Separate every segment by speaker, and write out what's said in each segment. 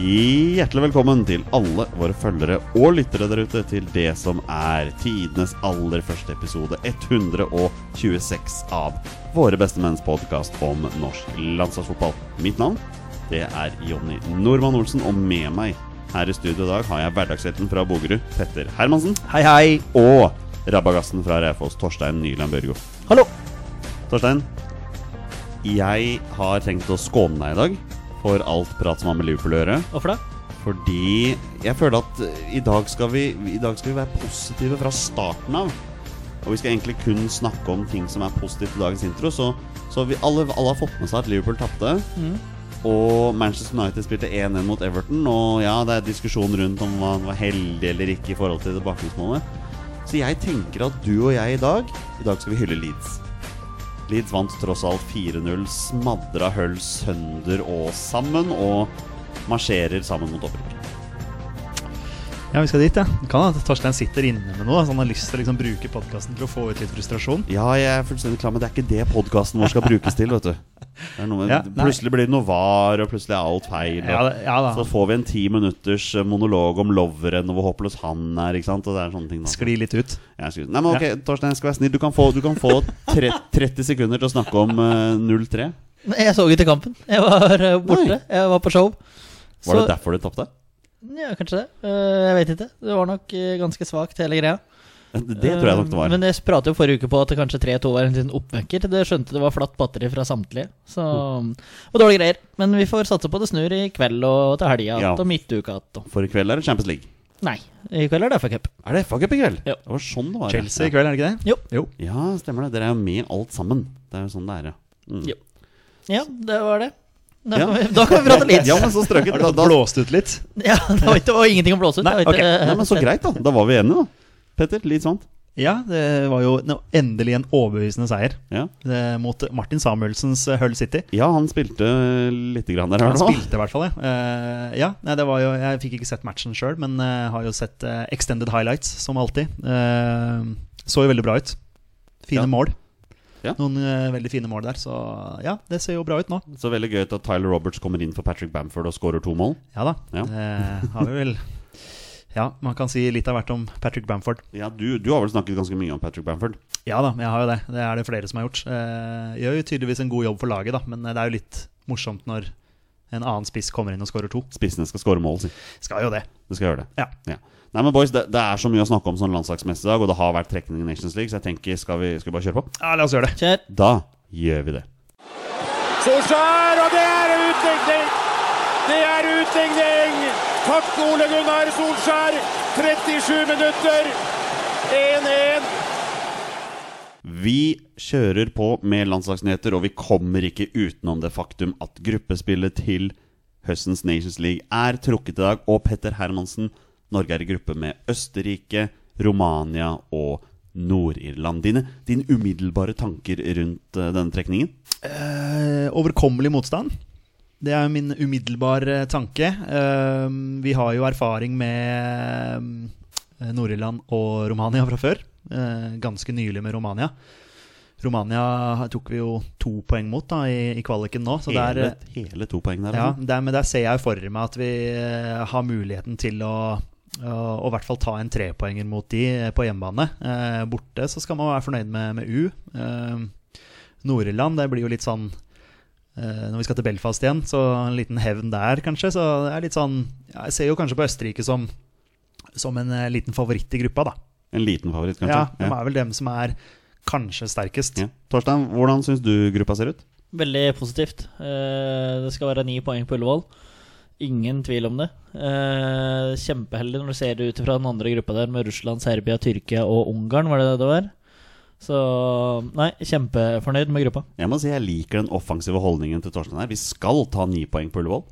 Speaker 1: Hjertelig velkommen til alle våre følgere og lyttere der ute til det som er tidenes aller første episode 126 av Våre beste menns podkast om norsk landslagsfotball. Mitt navn det er Jonny Normann Olsen, og med meg her i studio i dag har jeg hverdagshelten fra Bogerud, Petter Hermansen,
Speaker 2: Hei, hei.
Speaker 1: og rabagassen fra Raufoss, Torstein Nyland Børgo.
Speaker 2: Hallo.
Speaker 1: Torstein, jeg har tenkt å skåne deg i dag for alt prat som har med Liverpool å gjøre.
Speaker 2: Hvorfor det?
Speaker 1: Fordi jeg føler at eh, i dag skal vi, i dag skal vi være positive fra starten av. Og vi skal egentlig kun snakke om ting som er positivt i dagens intro. Så, så vi alle, alle har fått med seg at Liverpool tapte.
Speaker 2: Mm.
Speaker 1: Og Manchester United spilte 1-1 mot Everton. Og ja, det er diskusjon rundt om man var heldig eller ikke i forhold til det bakgrunnsmålet. Så jeg tenker at du og jeg i dag I dag skal vi hylle Leeds. Leeds vant tross alt 4-0, smadra hull sønder og sammen, og marsjerer sammen mot opprykk.
Speaker 2: Ja, vi skal dit, ja. Det kan hende at Torstein sitter inne med noe. Så han har lyst til å liksom bruke podkasten til å få ut litt frustrasjon.
Speaker 1: Ja, jeg er fullstendig klar, men det er ikke det podkasten vår skal brukes til. vet du det er noe med,
Speaker 2: Ja, nei.
Speaker 1: Plutselig blir det noe var, og plutselig er alt feil. Og,
Speaker 2: Ja, da- ja da.
Speaker 1: Så får vi en ti minutters eh, monolog om loveren og hvor håpløs han er. ikke sant? Og det er sånne ting da
Speaker 2: Skli litt ut.
Speaker 1: Jeg skulle- Nei, men ok, Torstein, jeg skal være snill. Du kan få, du kan få tre, 30 sekunder til å snakke om eh, 0-3.
Speaker 3: Men Jeg så ikke kampen. Jeg var eh, borte.
Speaker 1: Nei.
Speaker 3: Jeg var på show.
Speaker 1: Var
Speaker 3: Så-
Speaker 1: det derfor du tapte?
Speaker 3: Ja, kanskje det. Eh, Jeg vet ikke. Det var nok eh, ganske svakt, hele greia.
Speaker 1: Det tror jeg nok det
Speaker 3: Eh,
Speaker 1: var.
Speaker 3: Men jeg pratet jo forrige uke på at det kanskje 3-2 var en liten oppmøkker. Det skjønte det var flatt batteri fra samtlige. Så det var dårlige greier. Men vi får satse på at det snur i kveld og til helga
Speaker 1: Ja.
Speaker 3: og midtuka att. og-
Speaker 1: For i kveld er det Champions League.
Speaker 3: Nei, i kveld er det FA-cup.
Speaker 1: Er det FA-cup i kveld?
Speaker 3: Ja.
Speaker 1: Det var sånn det var. ja.
Speaker 2: Chelsea i kveld, er det ikke det?
Speaker 3: Jo.
Speaker 1: Ja, stemmer det. Dere er jo med alt sammen. Det er jo sånn det er, ja. Mm.
Speaker 3: Ja. Ja, det var det. Da
Speaker 1: Ja.
Speaker 3: kan vi, da kan vi prate litt.
Speaker 1: Ja, men så strøket.
Speaker 2: Har du
Speaker 1: Da,
Speaker 2: da
Speaker 1: da,
Speaker 2: blåst ut litt?
Speaker 3: Ja, det var, ikke, det var ingenting å blåse ut.
Speaker 2: Nei,
Speaker 3: Det var ikke,
Speaker 2: ok.
Speaker 3: eh,
Speaker 1: Nei, men så greit, da. Da var vi enige, da. Petter, litt sånn. sant?
Speaker 2: Ja, det var jo no- endelig en overbevisende seier
Speaker 1: Ja.
Speaker 2: eh, mot Martin Samuelsens eh, Hull City.
Speaker 1: ja, han spilte lite grann der.
Speaker 2: Han
Speaker 1: hørte du hva?
Speaker 2: spilte i hvert fall, ja. Eh, ja nei, det var jo, jeg fikk ikke sett matchen sjøl, men eh, har jo sett eh, extended highlights, som alltid. Eh, så jo veldig bra ut. Fine
Speaker 1: Ja.
Speaker 2: mål.
Speaker 1: Ja.
Speaker 2: Noen eh, veldig fine mål der, så ja, det ser jo bra ut nå.
Speaker 1: Så veldig gøy at Tyler Roberts kommer inn for Patrick Bamford og skårer to mål.
Speaker 2: Ja da.
Speaker 1: Ja.
Speaker 2: Det har vi vel Ja, man kan si litt av hvert om Patrick Bamford.
Speaker 1: Ja, du, du har vel snakket ganske mye om Patrick Bamford?
Speaker 2: Ja da, jeg har jo det. Det er det flere som har gjort. Eh, gjør jo tydeligvis en god jobb for laget, da, men eh, det er jo litt morsomt når en annen spiss kommer inn og skårer to.
Speaker 1: Spissene skal skåre mål, si.
Speaker 2: Skal jo det.
Speaker 1: Det skal gjøre det.
Speaker 2: Ja.
Speaker 1: Nei, men boys, det, det er så mye å snakke om sånn landslagsmessig i dag, og det har vært trekning i Nations League, så jeg tenker, skal vi, skal vi bare kjøre på?
Speaker 2: ja, la oss gjøre det.
Speaker 3: Kjør.
Speaker 1: Da gjør vi det.
Speaker 4: Solskjær, og det er utligning! Det er utligning! Takk, Ole Gunnar Solskjær. 37 minutter. 1-1.
Speaker 1: Vi kjører på med landslagsnyheter, og vi kommer ikke utenom det faktum at gruppespillet til høstens Nations League er trukket i dag. Og Petter Hermansen, Norge er i gruppe med Østerrike, Romania og Nord-Irland. Dine, dine umiddelbare tanker rundt eh, denne trekningen?
Speaker 2: Eh, overkommelig motstand. Det er min umiddelbare tanke. Eh, vi har jo erfaring med eh, Nord-Irland og Romania fra før. Eh, ganske nylig med Romania. Romania tok vi jo to poeng mot da, i, i kvaliken nå. Så det er, eh,
Speaker 1: hele, hele to poeng der.
Speaker 2: ja,
Speaker 1: altså.
Speaker 2: der, men der ser jeg for meg at vi eh, har muligheten til å å- å i hvert fall ta en trepoenger mot de eh, på hjemmebane. Eh, borte så skal man være fornøyd med, med U. Eh, Nord-Irland, det blir jo litt sånn eh, Når vi skal til Belfast igjen, så en liten hevn der, kanskje. Så det er litt sånn ja, Jeg ser jo kanskje på Østerrike som, som en eh, liten favoritt i gruppa, da.
Speaker 1: En liten favoritt,
Speaker 2: Ja,
Speaker 1: kanskje.
Speaker 2: De er vel dem som er kanskje sterkest.
Speaker 1: Ja. Torstein, hvordan syns du gruppa ser ut?
Speaker 3: Veldig positivt. Eh, Det skal være ni poeng på Ullevål. Ingen tvil om det. Eh, Kjempeheldig når du ser det ut fra den andre gruppa der, med Russland, Serbia, Tyrkia og Ungarn, var det det det var? Så nei, kjempefornøyd med gruppa.
Speaker 1: Jeg må si jeg liker den offensive holdningen til Torstein her. Vi skal ta ni poeng på Ullevål.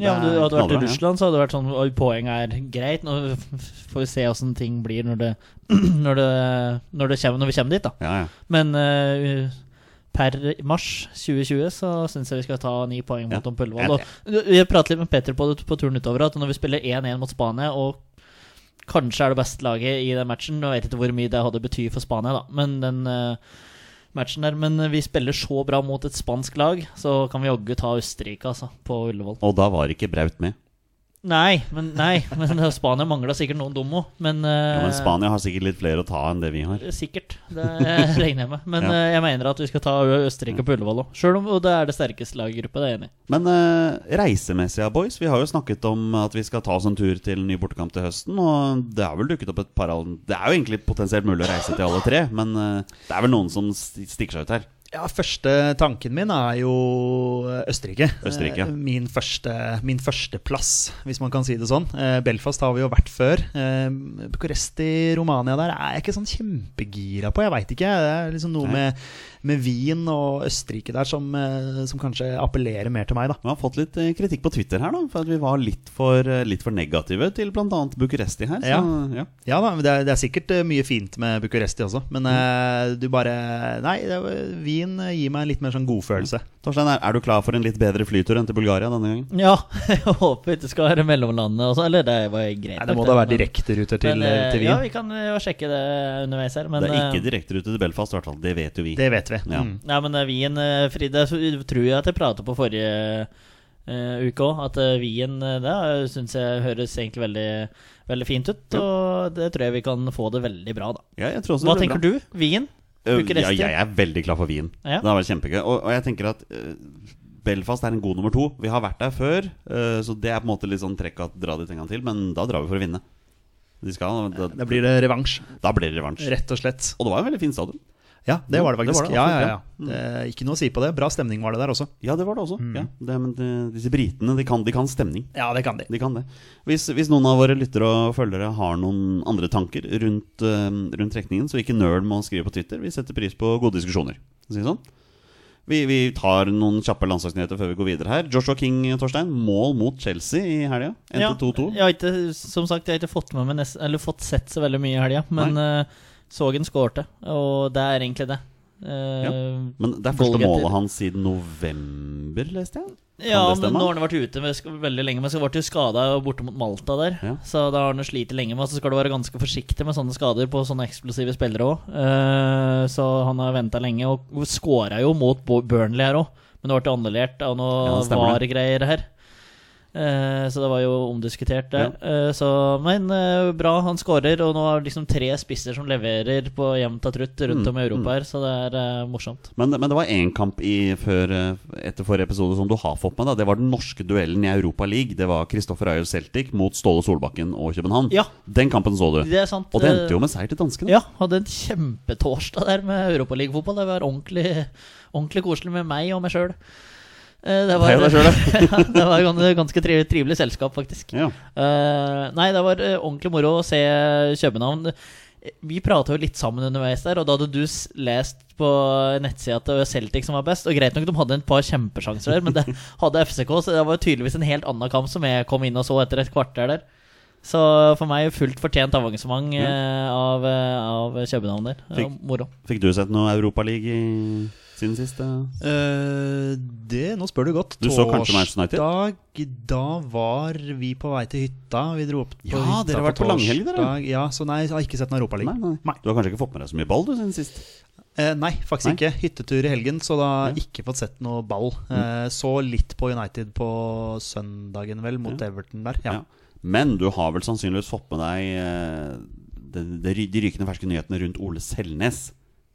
Speaker 3: Ja, om
Speaker 1: Det
Speaker 3: du
Speaker 1: er
Speaker 3: hadde vært i
Speaker 1: knallbra, ja.
Speaker 3: Russland, så hadde det vært sånn Oi, poeng er greit. Nå får vi se åssen ting blir når det, når, det, når, det kommer, når vi kommer dit, da.
Speaker 1: Ja, ja.
Speaker 3: Men eh, per mars 2020 så syns jeg vi skal ta ni poeng mot
Speaker 1: Ja.
Speaker 3: Tom Pøllvold. Og vi pratet litt med Peter på det på turen utover, at når vi spiller 1-1 mot Spania og kanskje er det beste laget i den matchen Nå vet jeg ikke hvor mye det hadde betydd for Spania, da, men den eh, matchen der Men eh, vi spiller så bra mot et spansk lag, så kan vi jaggu ta Østerrike, altså, på Ullevål.
Speaker 1: Og da var ikke Braut med.
Speaker 3: Nei, men, nei, men eh, Spania mangla sikkert noen dumme òg. Men, eh,
Speaker 1: Ja, men Spania har sikkert litt flere å ta enn det vi har.
Speaker 3: Sikkert. Det regner jeg med. Men
Speaker 1: Ja.
Speaker 3: eh, jeg mener at vi skal ta Ø- Østerrike på Ullevål òg. Sjøl om og det er det sterkeste laget i gruppa, det er jeg enig i.
Speaker 1: Men eh, reisemessig, ja, boys. Vi har jo snakket om at vi skal ta oss en tur til en ny bortekamp til høsten. Og det har vel dukket opp et par al- Det er jo egentlig potensielt mulig å reise til alle tre, men eh, det er vel noen som sti- stikker seg ut her.
Speaker 2: Ja, første tanken min er jo eh, Østerrike.
Speaker 1: Østerrike, ja.
Speaker 2: Eh, Min, første, min førsteplass, hvis man kan si det sånn. Eh, Belfast har vi jo vært før. Eh, Bucuresti, Romania der er jeg ikke sånn kjempegira på. Jeg veit ikke. Det er liksom noe
Speaker 1: Nei.
Speaker 2: med, med Wien og Østerrike der som, eh, som kanskje appellerer mer til meg, da.
Speaker 1: Vi har fått litt eh, kritikk på Twitter her, da, for at vi var litt for, eh, litt for negative til bl.a. Bucuresti her. Så, ja.
Speaker 2: Ja da, men det er, det er sikkert eh, mye fint med Bucuresti også, men eh, du bare Nei, det, er- Wien eh, gir meg en litt mer sånn godfølelse.
Speaker 1: Torstein, er, er du klar for en litt bedre flytur enn til Bulgaria denne gangangen?
Speaker 3: Ja, jeg håper ikke det skal være mellomlandet også. Eller det var greit.
Speaker 2: Nei, det
Speaker 3: nok,
Speaker 2: må da være
Speaker 3: men-
Speaker 2: direkteruter til,
Speaker 3: men, eh,
Speaker 2: til Wien.
Speaker 3: Ja, vi kan jo sjekke det underveis her. Men,
Speaker 1: det er ikke
Speaker 3: eh,
Speaker 1: direkterute til Belfast, i hvert fall. Det vet jo vi.
Speaker 2: Det vet vi.
Speaker 1: Ja.
Speaker 2: Mm.
Speaker 3: Nei, men eh, Wien, eh, Fride, så tror jeg at jeg pratet på forrige eh, uke òg, at eh, Wien eh, det syns jeg høres egentlig veldig, veldig fint ut.
Speaker 1: Ja.
Speaker 3: Og det tror jeg vi kan få det veldig bra, da.
Speaker 1: Ja, jeg tror også
Speaker 3: Hva
Speaker 1: det blir bra.
Speaker 3: tenker du? Wien?
Speaker 1: Øh,
Speaker 3: Bucuresti?
Speaker 1: Ja, jeg er veldig klar for Wien.
Speaker 3: Ja.
Speaker 1: Det har vært kjempegøy. Og, og jeg tenker at øh, Belfast er en god nummer to. Vi har vært der før, øh, så det er på en måte litt sånn trekk at dra dit en gang til, men da drar vi for å vinne. De skal, da,
Speaker 2: Da blir det revansj,
Speaker 1: da blir det revansj.
Speaker 2: rett og slett.
Speaker 1: Og det var en veldig fin stadion.
Speaker 2: Ja, det var det
Speaker 1: Det var
Speaker 2: faktisk.
Speaker 1: det,
Speaker 2: ja,
Speaker 1: absolutt,
Speaker 2: ja, ja. Eh, Ikke noe å si på det. Bra stemning var det der også.
Speaker 1: Ja, det var det også. Ja, det, men det, disse britene, de kan, de kan stemning.
Speaker 2: Ja, det kan de.
Speaker 1: De kan det. Hvis, hvis noen av våre lyttere og følgere har noen andre tanker rundt, eh, rundt trekningen, så ikke nøl med å skrive på Twitter. Vi setter pris på gode diskusjoner. Skal vi si det sånn? Vi, vi tar noen kjappe landslagsnyheter før vi går videre her. Joshua King, Torstein. Mål mot Chelsea i helga. Endte 2-2.
Speaker 3: Jeg har ikke, som sagt, jeg har ikke fått med meg nest, Eller fått sett så veldig mye i helga, men uh, Sågen skårte, og det er egentlig det. Eh,
Speaker 1: Men det er første
Speaker 3: Goalgetter.
Speaker 1: målet hans siden november, leste jeg.
Speaker 3: ja,
Speaker 1: det
Speaker 3: men
Speaker 1: stemme?
Speaker 3: nå har han vært ute med, sk- veldig lenge, men så ble han skada borte mot Malta der.
Speaker 1: Ja.
Speaker 3: Så da har han slitt lenge med, så skal du være ganske forsiktig med sånne skader på sånne eksplosive spillere òg. så han har venta lenge, og skåra jo mot Bo- Burnley her òg, men det ble annullert av
Speaker 1: Ja,
Speaker 3: noe
Speaker 1: det stemmer det.
Speaker 3: VAR-greier her. Eh, Så det var jo omdiskutert, det. Eh, Så, men eh, bra, han skårer. Og nå er det liksom tre spisser som leverer på jevnt og trutt
Speaker 1: Mm,
Speaker 3: rundt om i Europa her, så det er eh, morsomt.
Speaker 1: Men, men det var én kamp i før, eh, etter forrige episode som du har fått med deg. Det var den norske duellen i Europa League. Det var Kristoffer Ayer Celtic mot Ståle Solbakken og København.
Speaker 3: Ja.
Speaker 1: Den kampen så du.
Speaker 3: Det er sant.
Speaker 1: Og det
Speaker 3: eh,
Speaker 1: endte jo med seier til danskene.
Speaker 3: Ja, hadde en kjempetorsdag der med Europaliga-fotball. Det var ordentlig, ordentlig koselig med meg og meg sjøl. Det var,
Speaker 1: Deg og deg selv,
Speaker 3: ja, det var gan- ganske tri- trivelig selskap, faktisk.
Speaker 1: Ja.
Speaker 3: Eh, nei, det var eh, ordentlig moro å se København. Vi prata jo litt sammen underveis der, og da hadde du s- lest på nettsida at det var Celtic som var best. Og greit nok, de hadde et par kjempesjanser der, men det hadde FCK, så det var jo tydeligvis en helt annen kamp som jeg kom inn og så etter et kvarter der. Så for meg fullt fortjent avansement eh, av, eh, av København der. Det var
Speaker 1: Fikk-
Speaker 3: Moro.
Speaker 1: Fikk du sett noe Europaliga siden sist? eh?
Speaker 2: Eh, det, nå spør du godt.
Speaker 1: Du så kanskje Manchester United?
Speaker 2: Torsdag, da var vi på vei til hytta. Vi dro opp på
Speaker 1: Ja,
Speaker 2: hytta
Speaker 1: dere har vært på langhelg, dere.
Speaker 2: torsdag. Ja, så nei, jeg har ikke sett noen
Speaker 1: Nei,
Speaker 2: Europaliga.
Speaker 1: nei. Du har kanskje ikke fått med deg så mye ball du siden sist?
Speaker 2: Eh, nei, faktisk
Speaker 1: Nei.
Speaker 2: ikke. Hyttetur i helgen, så da har jeg ikke fått sett noe ball. Eh, så litt på United på søndagen, vel, mot Everton der. Ja.
Speaker 1: Ja. Men du har vel sannsynligvis fått med deg eh, de, de, ry- de rykende ferske nyhetene rundt Ole Selnes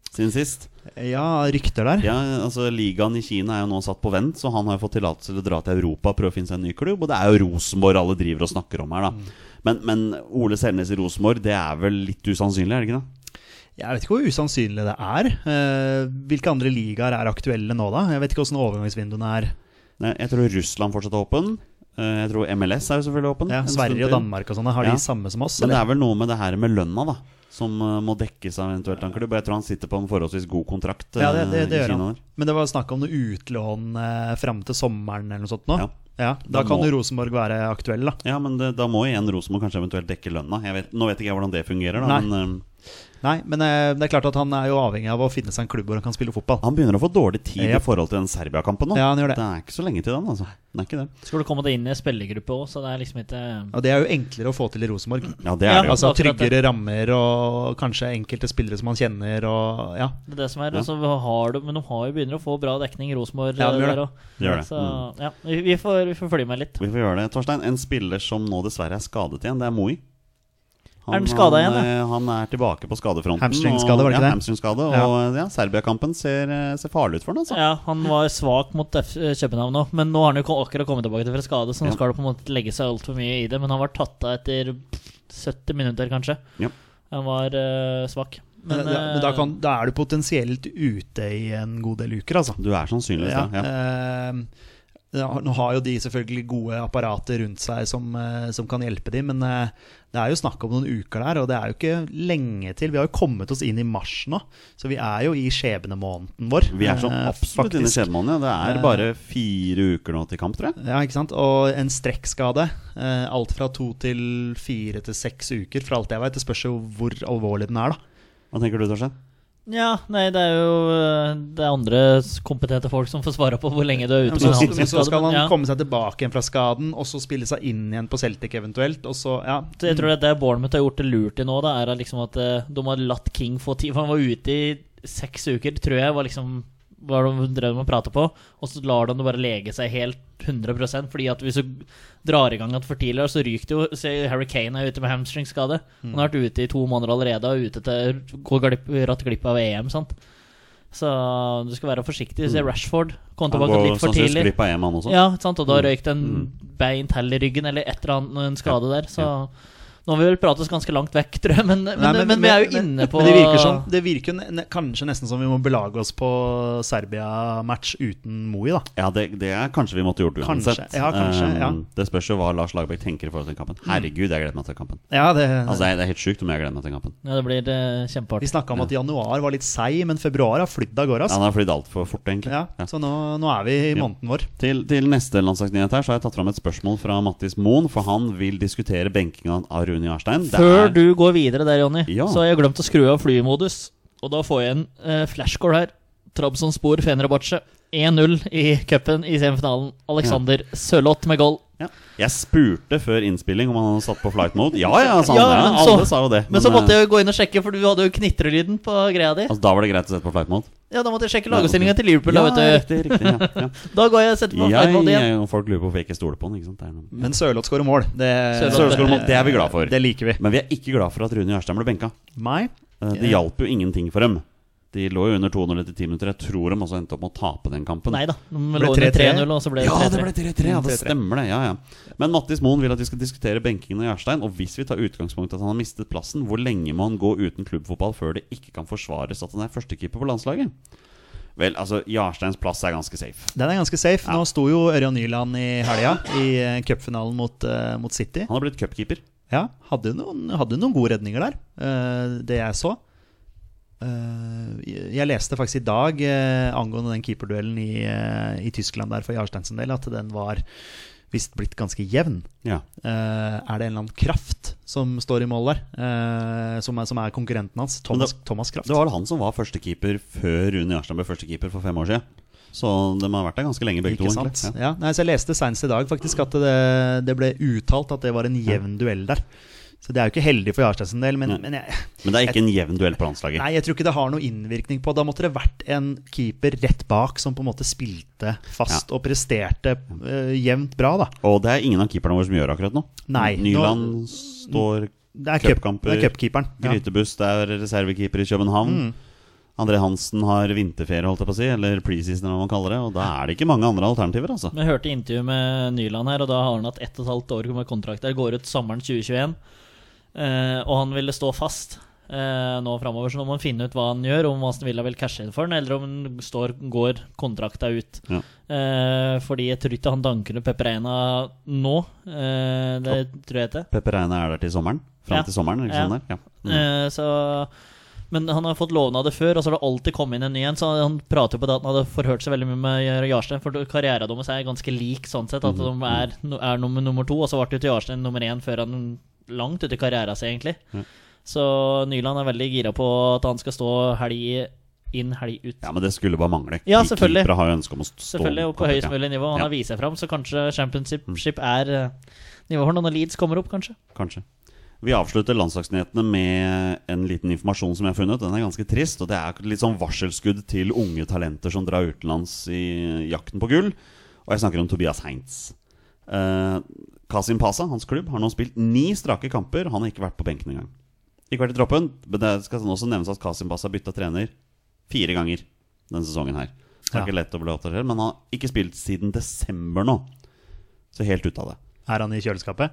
Speaker 1: siden sist?
Speaker 2: ja, rykter der.
Speaker 1: Ja, altså Ligaen i Kina er jo nå satt på vent, så han har jo fått tillatelse til å dra til Europa og prøve å finne seg en ny klubb. Og det er jo Rosenborg alle driver og snakker om her,
Speaker 3: Mm.
Speaker 1: da. Men, men Ole Selnes i Rosenborg, det er vel litt usannsynlig, er det ikke det?
Speaker 2: Jeg vet ikke hvor usannsynlig det er. Eh, hvilke andre ligaer er aktuelle nå, da? Jeg vet ikke åssen overgangsvinduene er.
Speaker 1: Nei, Jeg tror Russland fortsatt er åpen. Eh, Jeg tror MLS er jo selvfølgelig åpen.
Speaker 2: Ja,
Speaker 1: Mm, en stund
Speaker 2: Sverige og
Speaker 1: til.
Speaker 2: Danmark og sånne, har
Speaker 1: Ja.
Speaker 2: de samme som oss?
Speaker 1: Men det
Speaker 2: Eller?
Speaker 1: er vel noe med det her med lønna, da. Som eh, må dekkes av eventuelt en klubb. Jeg tror han sitter på en forholdsvis god kontrakt.
Speaker 2: Ja, det, det,
Speaker 1: eh,
Speaker 2: det
Speaker 1: i
Speaker 2: gjør
Speaker 1: Kina
Speaker 2: han.
Speaker 1: der.
Speaker 2: Men det var snakk om noe utlån eh, fram til sommeren eller noe sånt nå.
Speaker 1: Ja.
Speaker 2: Ja.
Speaker 1: Da
Speaker 2: da, kan
Speaker 1: må-
Speaker 2: jo Rosenborg være aktuell, da.
Speaker 1: Ja, men det, da må igjen Rosenborg kanskje eventuelt dekke lønna. Jeg vet, nå vet ikke jeg hvordan det fungerer, da.
Speaker 2: Nei.
Speaker 1: Men eh,
Speaker 2: Nei, men eh, det er klart at han er jo avhengig av å finne seg en klubb hvor han kan spille fotball.
Speaker 1: Han begynner å få dårlig tid
Speaker 2: Ja.
Speaker 1: i forhold til den Serbia-kampen nå.
Speaker 2: Ja, han gjør
Speaker 1: Det
Speaker 2: det.
Speaker 1: er ikke så lenge til den, altså. Det er ikke det.
Speaker 3: Skal du komme deg inn i spillergruppe òg, så det er liksom ikke
Speaker 2: Og det er jo enklere å få til i Rosenborg.
Speaker 1: Ja, det er
Speaker 3: Ja,
Speaker 1: det jo.
Speaker 2: Altså
Speaker 3: akkurat det.
Speaker 2: tryggere rammer og kanskje enkelte spillere som han kjenner og Ja.
Speaker 3: Det er det som er,
Speaker 1: Ja.
Speaker 3: altså, vi har det, Men de har jo begynner å få bra dekning, Rosenborg.
Speaker 2: Ja, de gjør
Speaker 3: eh,
Speaker 2: det.
Speaker 3: der også.
Speaker 1: De gjør det.
Speaker 2: altså,
Speaker 1: Mm.
Speaker 3: Så ja, vi, vi, får, vi får følge med litt.
Speaker 1: Vi får gjøre det. Torstein, en spiller som nå dessverre er skadet igjen, det er Moi.
Speaker 3: Er den skadet igjen, da?
Speaker 1: eh, han er tilbake på skadefronten.
Speaker 2: Hamstringskade, var det ikke
Speaker 1: ja,
Speaker 2: det?
Speaker 1: Hamstringskade, og eh,
Speaker 2: Ja.
Speaker 1: ja, Serbia-kampen ser, eh, ser farlig ut for han, altså.
Speaker 3: Ja, Han var svak mot F eh, København nå, men nå har han jo ko- akkurat kommet tilbake fra skade, så nå
Speaker 1: Ja.
Speaker 3: skal det på en måte ikke legge seg altfor mye i det. Men han var tatt av etter 70 minutter, kanskje.
Speaker 1: Ja.
Speaker 3: Han var eh, svak. eh,
Speaker 2: Men, da, men
Speaker 1: eh,
Speaker 2: da, kan, da er du potensielt ute i en god del uker, altså.
Speaker 1: Du er sannsynligvis
Speaker 2: Ja,
Speaker 1: det. Ja.
Speaker 2: eh, ja, nå har jo de selvfølgelig gode apparater rundt seg som, eh, som kan hjelpe dem, men eh, det er jo snakk om noen uker der, og det er jo ikke lenge til. Vi har jo kommet oss inn i mars nå, så vi er jo i skjebnemåneden vår.
Speaker 1: Vi er så
Speaker 2: eh,
Speaker 1: absolutt inne i
Speaker 2: faktisk.
Speaker 1: skjebnemannen. Ja. Det
Speaker 2: Eh,
Speaker 1: er bare fire uker nå til kamp, tror jeg.
Speaker 2: Ja, ikke sant? Og en strekkskade. Eh, alt fra to til fire til seks uker, for alt jeg vet. Det spørs jo hvor alvorlig den er, da.
Speaker 1: Hva tenker du, Torstein?
Speaker 3: Ja, nei, det er jo eh, Det er andre s- kompetente folk som får svare på hvor lenge du er ute
Speaker 2: Så,
Speaker 3: med en
Speaker 2: så, så skal
Speaker 3: hamstringskade, men
Speaker 2: han
Speaker 3: ja.
Speaker 2: komme seg tilbake igjen fra skaden, og så spille seg inn igjen på Celtic eventuelt, og så Ja.
Speaker 3: Så Jeg tror det er det Bournemouth har gjort det lurt i nå, da, er at liksom at eh, de har latt King få tid. For han var ute i seks uker, tror jeg, var liksom hva de drev med å prate på. Og så lar de det bare lege seg helt 100 Fordi at hvis du drar i gang at for tidlig, så ryker det jo. Se, Harry Kane er ute med hamstringskade. Han har vært ute i to måneder allerede og er ute til går glipp, ratt glipp av EM. sant? Så du skal være forsiktig. Se Rashford kom
Speaker 1: Mm. Han
Speaker 3: tilbake
Speaker 1: går
Speaker 3: litt for
Speaker 1: sannsynligvis
Speaker 3: tidlig.
Speaker 1: glipp av EM, han også.
Speaker 3: Ja, ikke sant? og da røyk det en beint hell i ryggen eller et eller annet en skade der. Så nå har vi vel pratet oss ganske langt vekk, tror jeg, men, men,
Speaker 2: Nei,
Speaker 3: men, vi er jo inne på
Speaker 2: Men det virker, sånn, det virker ne- ne- kanskje nesten som vi må belage oss på Serbia-match uten Moi, da.
Speaker 1: Ja, det, det er kanskje vi måtte gjort
Speaker 2: Kanskje.
Speaker 1: uansett.
Speaker 2: Ja, kanskje,
Speaker 1: Eh,
Speaker 2: ja. Mm.
Speaker 1: Det spørs jo hva Lars Lagerbäck tenker i forhold til den kampen. Herregud, jeg gleder meg til kampen.
Speaker 2: Ja, det,
Speaker 1: Altså, det er- det er helt sjukt om jeg gleder meg til kampen.
Speaker 3: Ja, det blir eh,
Speaker 2: vi
Speaker 3: kjempeartig.
Speaker 2: snakka om at januar var litt seig, men februar har flydd av gårde.
Speaker 1: Ja,
Speaker 2: Altså.
Speaker 1: Han har flydd altfor fort, egentlig.
Speaker 2: Ja,
Speaker 1: Ja.
Speaker 2: så nå, nå er vi i måneden vår.
Speaker 1: Til, til neste landslagsnyhet her Så har jeg tatt fram et spørsmål fra Mattis Moen, for han vil diskutere benkinga av Rune Jarstein. Det
Speaker 3: Før
Speaker 1: er-
Speaker 3: du går videre der, Jonny,
Speaker 1: Ja.
Speaker 3: så har jeg glemt å skru av flymodus. Og da får jeg en eh, flashcore her. Trabzonspor Fenerbahçe. 1-0 i cupen i semifinalen. Alexander Sørloth med goal.
Speaker 1: ja. Jeg spurte før innspilling om han hadde satt på flight mode. Ja ja, sa han
Speaker 3: Ja,
Speaker 1: det.
Speaker 3: men så-
Speaker 1: Alle sa jo det.
Speaker 3: Men så måtte
Speaker 1: eh,
Speaker 3: jeg jo gå inn og sjekke, for du hadde jo knitrelyden på greia di.
Speaker 1: Altså, da var det greit å sette på flight mode?
Speaker 3: Ja, da måtte jeg sjekke lagoppstillinga til Liverpool.
Speaker 1: ja,
Speaker 3: da, vet du.
Speaker 1: riktig, riktig. Ja, ja.
Speaker 3: Da går jeg og setter på
Speaker 1: Jeg,
Speaker 3: feil mode igjen.
Speaker 1: jeg- folk lurer på hvorfor jeg ikke stoler på han. Ikke sant? Det er noe.
Speaker 2: Men Sørloth skårer mål. Det,
Speaker 3: Sørloth-
Speaker 1: Sørloth skårer mål, det er vi glad for.
Speaker 2: Det liker vi.
Speaker 1: Men vi er ikke glad for at Rune Jarstein ble benka.
Speaker 2: Meg?
Speaker 1: Eh, Det hjalp jo ingenting for dem. De lå jo under 2-0 etter 10 minutter. Jeg tror de også endte opp med å tape den kampen.
Speaker 3: Nei da. De
Speaker 2: Ble
Speaker 3: lå under
Speaker 2: 3-3.
Speaker 3: 3-0, og så ble det
Speaker 1: Ja,
Speaker 3: 3-3.
Speaker 1: det ble 3-3. Ja, det
Speaker 2: 3-3.
Speaker 1: stemmer det. Ja, ja. Men Mattis Moen vil at vi skal diskutere benkingen av Jarstein. Og hvis vi tar utgangspunkt i at han har mistet plassen, hvor lenge må han gå uten klubbfotball før det ikke kan forsvares at han er førstekeeper på landslaget? Vel, altså, Jarsteins plass er ganske safe.
Speaker 2: Den er ganske safe. Nå sto jo Ørjan Nyland i helga, i eh, cupfinalen mot, eh, mot City.
Speaker 1: Han har blitt cupkeeper.
Speaker 2: Ja, hadde noen, hadde noen gode redninger der, eh, det jeg så. Eh, jeg jeg leste faktisk i dag eh, angående den keeperduellen i, eh, i Tyskland der for Jarstein sin del, at den var visst blitt ganske jevn.
Speaker 1: Ja.
Speaker 2: Eh, er det en eller annen kraft som står i mål der, eh, som, er, som er konkurrenten hans? Thomas, Thomas Kraft.
Speaker 1: Det var vel han som var førstekeeper før Rune Jarstein ble førstekeeper for fem år siden. Så de har vært der ganske lenge, begge
Speaker 2: Ikke
Speaker 1: to.
Speaker 2: sant?
Speaker 1: egentlig. Ja.
Speaker 2: Ja. Nei, så jeg leste senest i dag faktisk at det, det ble uttalt at det var en jevn duell der. Så det er jo ikke heldig for Jarstein sin del, men,
Speaker 1: Nei.
Speaker 2: men jeg,
Speaker 1: Men det er ikke en jevn duell på landslaget.
Speaker 2: Nei, jeg tror ikke det har noen innvirkning på Da måtte det vært en keeper rett bak som på en måte spilte fast og presterte eh, jevnt bra, da.
Speaker 1: Og det er ingen av keeperne våre som gjør akkurat nå.
Speaker 2: Nei,
Speaker 1: Nyland står
Speaker 2: Det er cup-
Speaker 1: Cupkamper.
Speaker 2: det er cupkeeperen. Ja.
Speaker 1: Grytebuss, det er reservekeeper i København.
Speaker 3: Mm.
Speaker 1: André Hansen har vinterferie, holdt jeg på å si, eller preseason, eller hva man kaller det. Og da er det ikke mange andre alternativer, altså.
Speaker 3: Men Jeg hørte intervju med Nyland her, og da har han hatt ett og et halvt år med kontrakt der. Går ut sommeren 2021. Eh, og han ville stå fast eh, nå framover, så nå må han finne ut hva han gjør. Om Aston Villa vil cashe inn for han, eller om han står, går kontrakta ut.
Speaker 1: Ja.
Speaker 3: Eh, fordi jeg tror ikke han danker under Pepperena nå. Eh, det tror jeg ikke.
Speaker 1: Pepper Reine er der til sommeren. Fram
Speaker 3: Ja.
Speaker 1: til sommeren, ikke
Speaker 3: Ja.
Speaker 1: sant? Der? Ja. Mm.
Speaker 3: Eh, så men han har fått lovnader før, og så har det alltid kommet inn en ny en. Så han prater jo på det at han hadde forhørt seg veldig mye med Jarstein, for karrieren deres er ganske lik sånn sett. At de
Speaker 1: Mm-hmm.
Speaker 3: er, er nummer, nummer to, og så ble det jo til Jarstein nummer én før han langt ute i karrieren sin, egentlig. Så Nyland er veldig gira på at han skal stå helg inn, helg ut.
Speaker 1: Ja, men det skulle bare mangle.
Speaker 3: Ja, selvfølgelig.
Speaker 1: Keepere har jo ønske om å stå
Speaker 3: Selvfølgelig, og på høyest mulig nivå. Han
Speaker 1: Ja. Mm.
Speaker 3: har vist seg fram, så kanskje championship er eh, nivået for når Leeds kommer opp, kanskje.
Speaker 1: Kanskje. Vi avslutter landslagsnyhetene med en liten informasjon som jeg har funnet. Den er ganske trist, og det er litt sånn varselskudd til unge talenter som drar utenlands i jakten på gull. Og jeg snakker om Tobias Heinz. Eh, Kasim Pasa, hans klubb, har nå spilt ni strake kamper. Han har ikke vært på benken engang. Ikke vært i troppen, men det skal også nevnes at Kasim Pasa bytta trener fire ganger denne sesongen her. Det er
Speaker 2: Ja.
Speaker 1: ikke lett å bli oppdatert, men han har ikke spilt siden desember nå. Så helt ute av det.
Speaker 2: Er han i kjøleskapet?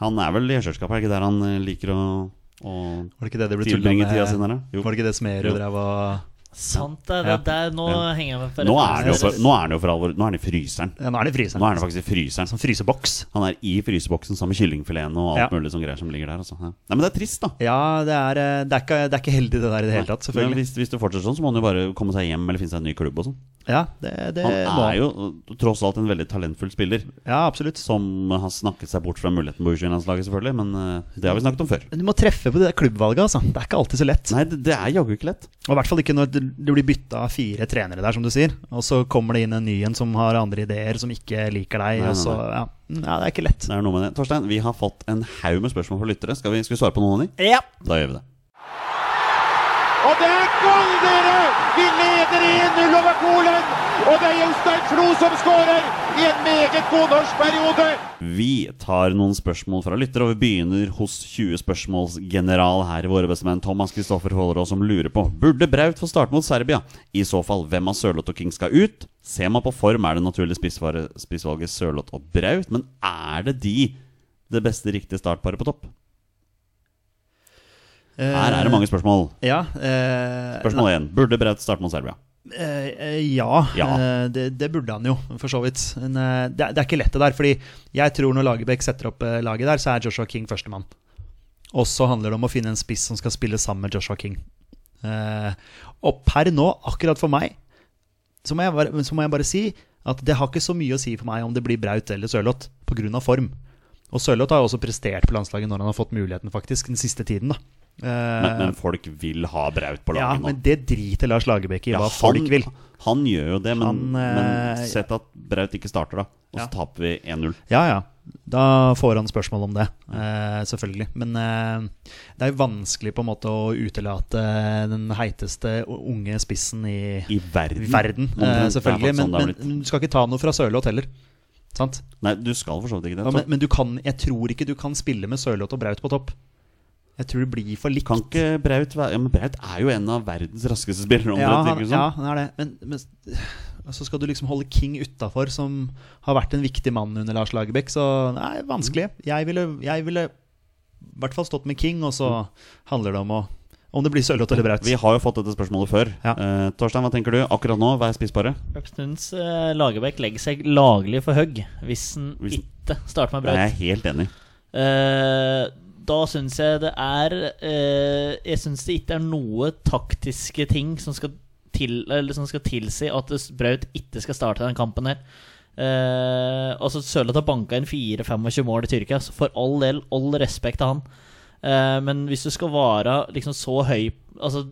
Speaker 1: Han er vel i kjøleskapet, er ikke der han eh, liker å, å
Speaker 2: Var det ikke det de ble tullet
Speaker 1: tilbringe tida si?
Speaker 2: med?
Speaker 1: Nære? Jo.
Speaker 2: Var det ikke det
Speaker 1: Jo.
Speaker 2: Smerud drev og
Speaker 3: Sant, det er
Speaker 2: Ja.
Speaker 3: det er der nå
Speaker 1: Ja.
Speaker 3: henger jeg meg
Speaker 1: Nå er, det jo
Speaker 3: referansen.
Speaker 1: for, nå er det jo for alvor Nå er det i fryseren.
Speaker 2: ja, Nå er det i fryseren.
Speaker 1: Nå er det faktisk i fryseren.
Speaker 2: Sånn fryseboks.
Speaker 1: Han er i fryseboksen sammen med kyllingfileten og alt
Speaker 2: Ja.
Speaker 1: mulig sånn greier som ligger der. Altså. Ja. Nei, men det er trist, da.
Speaker 2: Ja, det er, eh, det, er ikke, det er ikke heldig det der i det hele tatt,
Speaker 1: Men
Speaker 2: selvfølgelig.
Speaker 1: hvis, hvis det fortsetter sånn, så må han jo bare komme seg hjem eller finne seg en ny klubb og sånn.
Speaker 2: Ja, det, det
Speaker 1: Han
Speaker 2: må
Speaker 1: er jo eh, tross alt en veldig talentfull spiller,
Speaker 2: Ja, absolutt.
Speaker 1: som har snakket seg bort fra muligheten på U21-landslaget, selvfølgelig, men eh, det har vi snakket om før.
Speaker 2: Men du må treffe på det der klubbvalget, altså. Det er ikke alltid så lett.
Speaker 1: Nei, det, det er jaggu ikke lett.
Speaker 2: Og i hvert fall ikke når det det blir bytta av fire trenere der, som du sier. Og så kommer det inn en ny en som har andre ideer, som ikke liker deg.
Speaker 1: Nei,
Speaker 2: og så,
Speaker 1: nei,
Speaker 2: ja. Mm, ja, det er ikke lett.
Speaker 1: Det er noe med det. Torstein, vi har fått en haug med spørsmål fra lyttere. Skal vi, skal vi svare på noen av de?
Speaker 3: Ja.
Speaker 1: Da gjør vi det.
Speaker 4: Og det er gold, dere! Vi leder 1-0 over Polen! Og det er Jostein Flo som skårer i en meget god norsk periode!
Speaker 1: Vi tar noen spørsmål fra lyttere, og vi begynner hos 20 spørsmålsgeneral her i våre bestemenn, Thomas Kristoffer Hålerås, som lurer på Burde Braut få starte mot Serbia? I så fall, hvem av Sørloth og King skal ut? Ser man på form, er det naturlige spissvare- spissvalget Sørloth og Braut, men er det de det beste riktige startparet på topp? Her er det mange spørsmål.
Speaker 2: Ja. Eh,
Speaker 1: Spørsmål 1. Burde Braut starte mot Serbia?
Speaker 2: Eh, eh, ja,
Speaker 1: Ja.
Speaker 2: Eh, det, det burde han jo, for så vidt. Men eh, det, er- det er ikke lett, det der. Fordi jeg tror når Lagerbäck setter opp eh, laget der, så er Joshua King førstemann. Og så handler det om å finne en spiss som skal spille sammen med Joshua King. Eh, og per nå, akkurat for meg, så må, jeg bare, så må jeg bare si at det har ikke så mye å si for meg om det blir Braut eller Sørloth, pga. form. Og Sørloth har jo også prestert på landslaget når han har fått muligheten, faktisk, den siste tiden. da. Eh,
Speaker 1: Men, men folk vil ha Braut på
Speaker 2: ja,
Speaker 1: laget nå.
Speaker 2: men det driter Lars Lagerbäck i,
Speaker 1: Ja,
Speaker 2: hva folk vil.
Speaker 1: han gjør jo det, men,
Speaker 2: Han, eh,
Speaker 1: men sett at Braut ikke starter, da. Og så
Speaker 2: Ja.
Speaker 1: taper vi 1-0.
Speaker 2: Ja, ja. Da får han spørsmål om det, eh, selvfølgelig. Men eh, det er jo vanskelig på en måte å utelate den heiteste unge spissen i
Speaker 1: I verden.
Speaker 2: verden,
Speaker 1: Omtrent.
Speaker 2: eh,
Speaker 1: Det er
Speaker 2: selvfølgelig.
Speaker 1: faktisk
Speaker 2: Men,
Speaker 1: sånn det har
Speaker 2: men
Speaker 1: blitt.
Speaker 2: men du skal ikke ta noe fra Sørloth heller. Sant?
Speaker 1: Nei, du skal for så vidt ikke det.
Speaker 2: Ja, men, men du kan, jeg tror ikke du kan spille med Sørloth og Braut på topp. Jeg tror det blir for likt.
Speaker 1: kan ikke Braut være ja, Men Braut er jo en av verdens raskeste spillere.
Speaker 2: ja,
Speaker 1: omtrent,
Speaker 2: han,
Speaker 1: ikke sant?
Speaker 2: ja, han er det. Men, men og så skal du liksom holde King utafor, som har vært en viktig mann under Lars Lagerbäck. Så nei, vanskelig.
Speaker 1: Mm.
Speaker 2: Jeg ville, jeg ville i hvert fall stått med King, og så handler det om å Om det blir Sørloth eller Braut.
Speaker 1: Mm. Vi har jo fått dette spørsmålet før.
Speaker 2: Ja.
Speaker 1: Eh, Torstein, hva tenker du? Akkurat nå, hva er spissbare?
Speaker 3: Øpstunds eh, Lagerbäck legger seg laglig for høgg hvis han
Speaker 1: Hvis-
Speaker 3: ikke starter
Speaker 1: Jeg
Speaker 3: med Braut.
Speaker 1: er helt enig.
Speaker 3: Eh, da syns jeg det er eh, Jeg syns det ikke er noe taktiske ting som skal, til, eller som skal tilsi at Braut ikke skal starte den kampen her. Eh, altså Sørloth har banka inn 4-25 mål i Tyrkia, så for all del, all respekt til han. Eh, men hvis du skal være liksom så høy Altså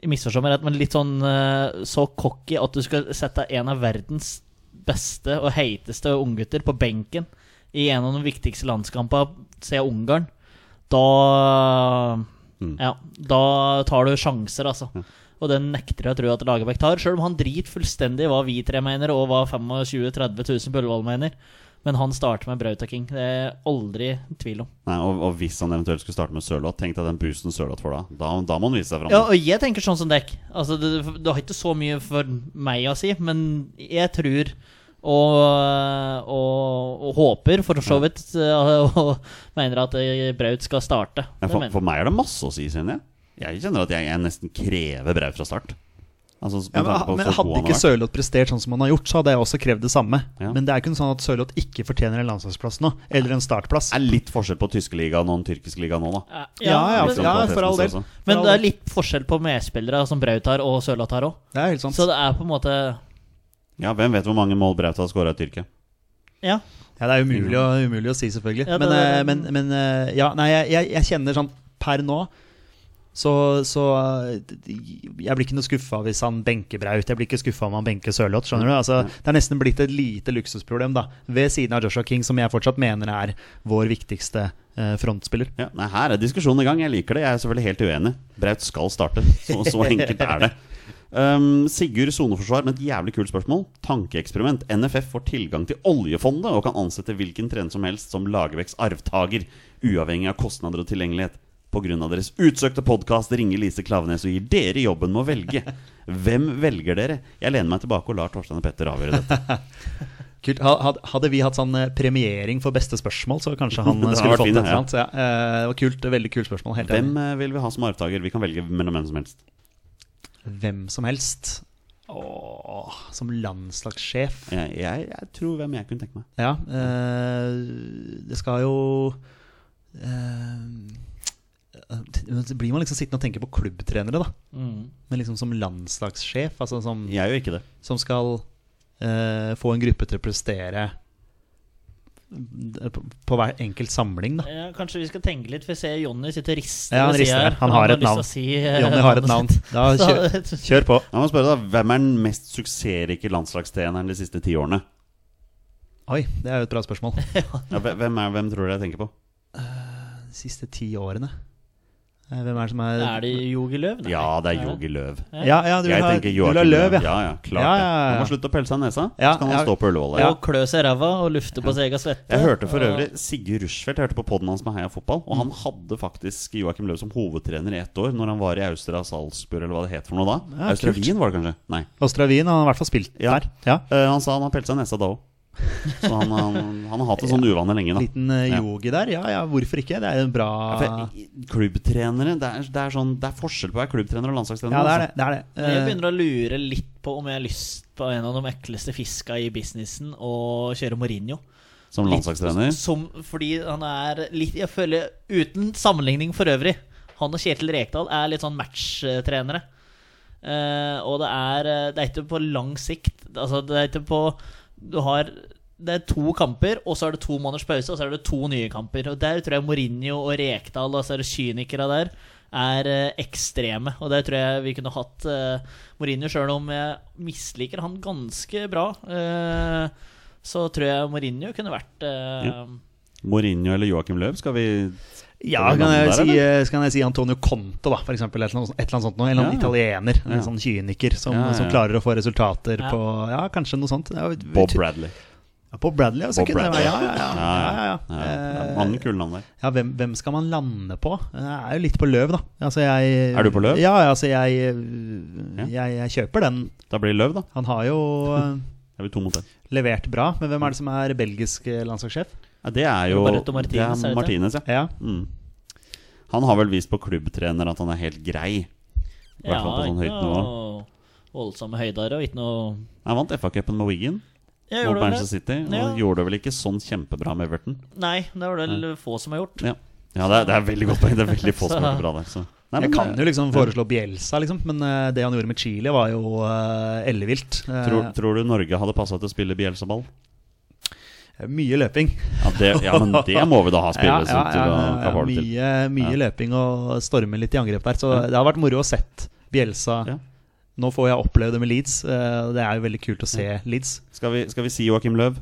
Speaker 3: jeg misforstår meg rett, men litt sånn eh, så cocky at du skal sette en av verdens beste og heiteste unggutter på benken i en av de viktigste landskampene siden Ungarn, da
Speaker 1: Mm.
Speaker 3: Ja, da tar du sjanser, altså. Og det nekter jeg å tro at Lagerbäck tar, sjøl om han driter fullstendig i hva vi tre mener, og hva 25 000-30 000 Bullevål mener. Men han starter med Brauta King. Det er jeg aldri tvil om.
Speaker 1: Nei, og, og hvis han eventuelt skulle starte med Sørloth, tenk deg den boosten Sørloth får da. da. Da må han vise seg fram.
Speaker 3: Ja, og jeg tenker sånn som dekk. Altså, det, det har ikke så mye for meg å si, men jeg tror og, og, og håper, for så vidt, og mener at eh, Braut skal starte.
Speaker 1: Men
Speaker 3: Det
Speaker 1: for,
Speaker 3: mener jeg.
Speaker 1: for meg er det masse å si, kjenner jeg. Jeg kjenner at jeg, jeg nesten krever Braut fra start. Altså, med
Speaker 2: ja, men,
Speaker 1: tanke på
Speaker 2: men
Speaker 1: så god
Speaker 2: hadde
Speaker 1: han har
Speaker 2: ikke
Speaker 1: vært.
Speaker 2: Sørloth prestert sånn som han har gjort, så hadde jeg også krevd det samme.
Speaker 1: Ja.
Speaker 2: Men det er ikke noe sånn at Sørloth ikke fortjener en landslagsplass nå, eller en startplass.
Speaker 1: Det er litt forskjell på tyske ligaen og den tyrkiske ligaen nå, da.
Speaker 2: Ja, ja,
Speaker 3: men-
Speaker 1: Litt sånn
Speaker 2: ja, for all
Speaker 1: kvalitetsmessig
Speaker 2: del.
Speaker 1: også.
Speaker 3: Men det er litt forskjell på medspillere som Braut har, og Sørloth har òg.
Speaker 2: Det er helt sant.
Speaker 3: Så det er på en måte
Speaker 1: Ja, hvem vet hvor mange mål Braut har skåra i Tyrkia?
Speaker 3: Ja.
Speaker 2: Ja, det er umulig å, umulig å si, selvfølgelig.
Speaker 3: Ja, det-
Speaker 2: men, eh, men, men eh, ja, nei, jeg, jeg, jeg kjenner sånn per nå så, så eh, jeg blir ikke noe skuffa hvis han benker Braut. Jeg blir ikke skuffa om han benker Sørloth. skjønner du? Altså, det er nesten blitt et lite luksusproblem da, ved siden av Joshua King, som jeg fortsatt mener er vår viktigste eh, frontspiller.
Speaker 1: Ja, nei, her er diskusjonen i gang. Jeg liker det. Jeg er selvfølgelig helt uenig. Braut skal starte. Så, så enkelt er det. Um, Sigurd soneforsvar med et jævlig kult spørsmål. Tankeeksperiment. NFF får tilgang til oljefondet og kan ansette hvilken trener som helst som Lagerbäcks arvtaker, uavhengig av kostnader og tilgjengelighet. Pga. deres utsøkte podkast ringer Lise Klaveness og gir dere jobben med å velge. Hvem velger dere? Jeg lener meg tilbake og lar Torstein og Petter avgjøre dette.
Speaker 2: Kult. Ha- had- Hadde vi hatt sånn eh, premiering for beste spørsmål, så kanskje han eh,
Speaker 1: Det hadde
Speaker 2: skulle
Speaker 1: vært
Speaker 2: fått
Speaker 1: fint,
Speaker 2: et
Speaker 1: ja.
Speaker 2: eller annet. Så Ja, eh, det var kult, veldig kult spørsmål. Helt
Speaker 1: Hvem eh, vil vi ha som arvtaker? Vi kan velge mellom hvem som helst.
Speaker 2: enig. Hvem som helst. Åh, som landslagssjef.
Speaker 1: Jeg, jeg, jeg tror hvem jeg kunne tenke meg.
Speaker 2: Ja, eh, det skal jo eh, Så blir man liksom sittende og tenke på klubbtrenere, da.
Speaker 3: Mm.
Speaker 2: Men liksom som landslagssjef, altså som,
Speaker 1: Jeg gjør ikke det.
Speaker 2: som skal eh, få en gruppe til å prestere eh, på, på hver enkelt samling, da.
Speaker 3: Ja, kanskje vi skal tenke litt, for jeg ser Jonny sitter og rister.
Speaker 2: Ja, han
Speaker 3: ved siden
Speaker 2: rister.
Speaker 3: her.
Speaker 2: Han har et
Speaker 3: lyst til å
Speaker 2: navn.
Speaker 3: Si, eh,
Speaker 2: Jonny har et navn.
Speaker 3: navnet sitt.
Speaker 2: Da kjør,
Speaker 3: Så-
Speaker 2: kjør på.
Speaker 1: Jeg må spørre da, Hvem er den mest suksessrike landslagstreneren de siste ti årene?
Speaker 2: Oi, det er jo et bra spørsmål.
Speaker 1: Ja, hve- hvem, er, hvem tror dere jeg tenker på?
Speaker 2: De siste ti årene. Eh, Hvem er det som er
Speaker 3: Er det Jogi Løv? Nei.
Speaker 1: Ja, det er Jogi Løv.
Speaker 2: Ja, ja, du vil
Speaker 1: Jeg
Speaker 2: ha,
Speaker 1: tenker
Speaker 2: du vil ha
Speaker 1: Joakim
Speaker 2: løv, ja.
Speaker 1: Ja, ja, klart
Speaker 2: Ja,
Speaker 1: det.
Speaker 2: ja, ja.
Speaker 1: Han må slutte å pelle seg i nesa,
Speaker 2: Ja,
Speaker 1: så kan han
Speaker 2: ja.
Speaker 1: stå på Ullevål.
Speaker 2: Ja.
Speaker 1: Ja.
Speaker 3: Og klø seg i ræva og lufte på seg egen svette.
Speaker 1: Jeg hørte for
Speaker 3: Og-
Speaker 1: øvrig Sigurd Rushfeldt. Jeg hørte på podden hans med Heia Fotball. Og
Speaker 2: Mm.
Speaker 1: han hadde faktisk Joakim Løv som hovedtrener i ett år, når han var i Austria Salzburg, eller hva det het for noe da.
Speaker 2: Ja,
Speaker 1: Austria
Speaker 2: kult.
Speaker 1: Wien var det kanskje? Nei.
Speaker 2: Ostravin, han har i hvert fall spilt
Speaker 1: Ja.
Speaker 2: der. Ja.
Speaker 1: Eh, han sa han har pelt seg i nesa da òg. Så han, han, han har hatt en sånn uvane lenge, da.
Speaker 2: Liten eh,
Speaker 1: Ja.
Speaker 2: yogi der, ja ja, hvorfor ikke? Det er jo en bra
Speaker 1: Ja, for jeg- Klubbtrenere det er, det, er sånn, det er forskjell på å være klubbtrener og landslagstrener.
Speaker 2: Ja, det er
Speaker 1: altså.
Speaker 2: det. det, er det.
Speaker 3: Men Jeg begynner å lure litt på om jeg har lyst på en av de ekleste fiska i businessen og kjøre Mourinho.
Speaker 1: Som landslagstrener.
Speaker 3: Som, fordi han er litt Jeg føler, uten sammenligning for øvrig, han og Kjetil Rekdal er litt sånn matchtrenere. Eh, og det er, eh, det er ikke på lang sikt. Altså, det er ikke på Du har det er to kamper, og så er det to måneders pause, og så er det to nye kamper. Og Der tror jeg Mourinho og Rekdal, altså er det kynikere der, er eh, ekstreme. Og der tror jeg vi kunne hatt eh, Mourinho, sjøl om jeg misliker han ganske bra. eh, så tror jeg Mourinho kunne vært eh,
Speaker 1: Ja. Mourinho eller Joakim Løv, skal vi
Speaker 2: ja,
Speaker 1: Skal vi
Speaker 2: kan
Speaker 1: lande
Speaker 2: jeg,
Speaker 1: der,
Speaker 2: si,
Speaker 1: eller?
Speaker 2: eh, så kan jeg si Antonio Conte, da, for eksempel. Et eller annet, sånt- et eller annet sånt noe. En eller annen
Speaker 1: Ja.
Speaker 2: italiener,
Speaker 1: Ja.
Speaker 2: en sånn kyniker, som,
Speaker 1: Ja, ja, ja.
Speaker 2: som klarer å få resultater
Speaker 3: Ja.
Speaker 2: på Ja, kanskje noe sånt. Ja,
Speaker 1: Bob
Speaker 2: ut-
Speaker 1: Bradley.
Speaker 2: Ja, Bob Bradley, altså.
Speaker 1: Bob
Speaker 2: kunne det være-
Speaker 1: Bradley.
Speaker 2: Ja, ja, ja. ja, ja, ja.
Speaker 1: Det er
Speaker 2: Eh,
Speaker 1: mange kule navn der.
Speaker 2: Ja, hvem, hvem skal man lande på? Jeg er jo litt på løv, da. Altså, jeg,
Speaker 1: Er du på løv?
Speaker 2: Ja, altså, jeg, jeg, jeg kjøper den.
Speaker 1: Da blir det Løv, da.
Speaker 2: Han har jo eh,
Speaker 1: Det blir to mot en.
Speaker 2: levert bra, men hvem er det som er belgisk eh, landslagssjef?
Speaker 1: Ja, det er jo
Speaker 3: Roberto Martinez,
Speaker 1: det
Speaker 3: er det
Speaker 1: er
Speaker 3: det?
Speaker 1: Martinez ja.
Speaker 2: Ja,
Speaker 1: Mm. Han har vel vist på klubbtrener at han er helt grei. I hvert fall på sånn høyt nivå.
Speaker 3: noe voldsomme høyder og ikke noe
Speaker 1: Han vant FA-cupen med Wigan
Speaker 3: Jeg
Speaker 1: mot
Speaker 3: gjorde vel det.
Speaker 1: Manchester City. Og
Speaker 3: Ja.
Speaker 1: gjorde det vel ikke sånn kjempebra med Everton.
Speaker 3: Nei, det var det vel få som har gjort.
Speaker 1: Ja, ja det, er, det er veldig godt poeng. Det er veldig få som
Speaker 3: Så-
Speaker 1: gjør det bra der. Så. Nei, men eh,
Speaker 2: Jeg kan
Speaker 1: det-
Speaker 2: jo liksom foreslå Bielsa, liksom, men eh, det han gjorde med Chile, var jo eh, ellevilt. Eh,
Speaker 1: tror, tror du Norge hadde passa til å spille Bielsa-ball?
Speaker 2: Eh, mye løping.
Speaker 1: Ja, det, ja, men det må vi da ha spillere som til å
Speaker 2: ja,
Speaker 1: kan få det til.
Speaker 2: mye mye løping og storme litt i angrep der. Så det har vært moro å sett Bielsa.
Speaker 1: Ja.
Speaker 2: Nå får jeg oppleve det med Leeds. eh, og Det er jo veldig kult å se Leeds.
Speaker 1: Skal vi, skal vi si Joakim Løv?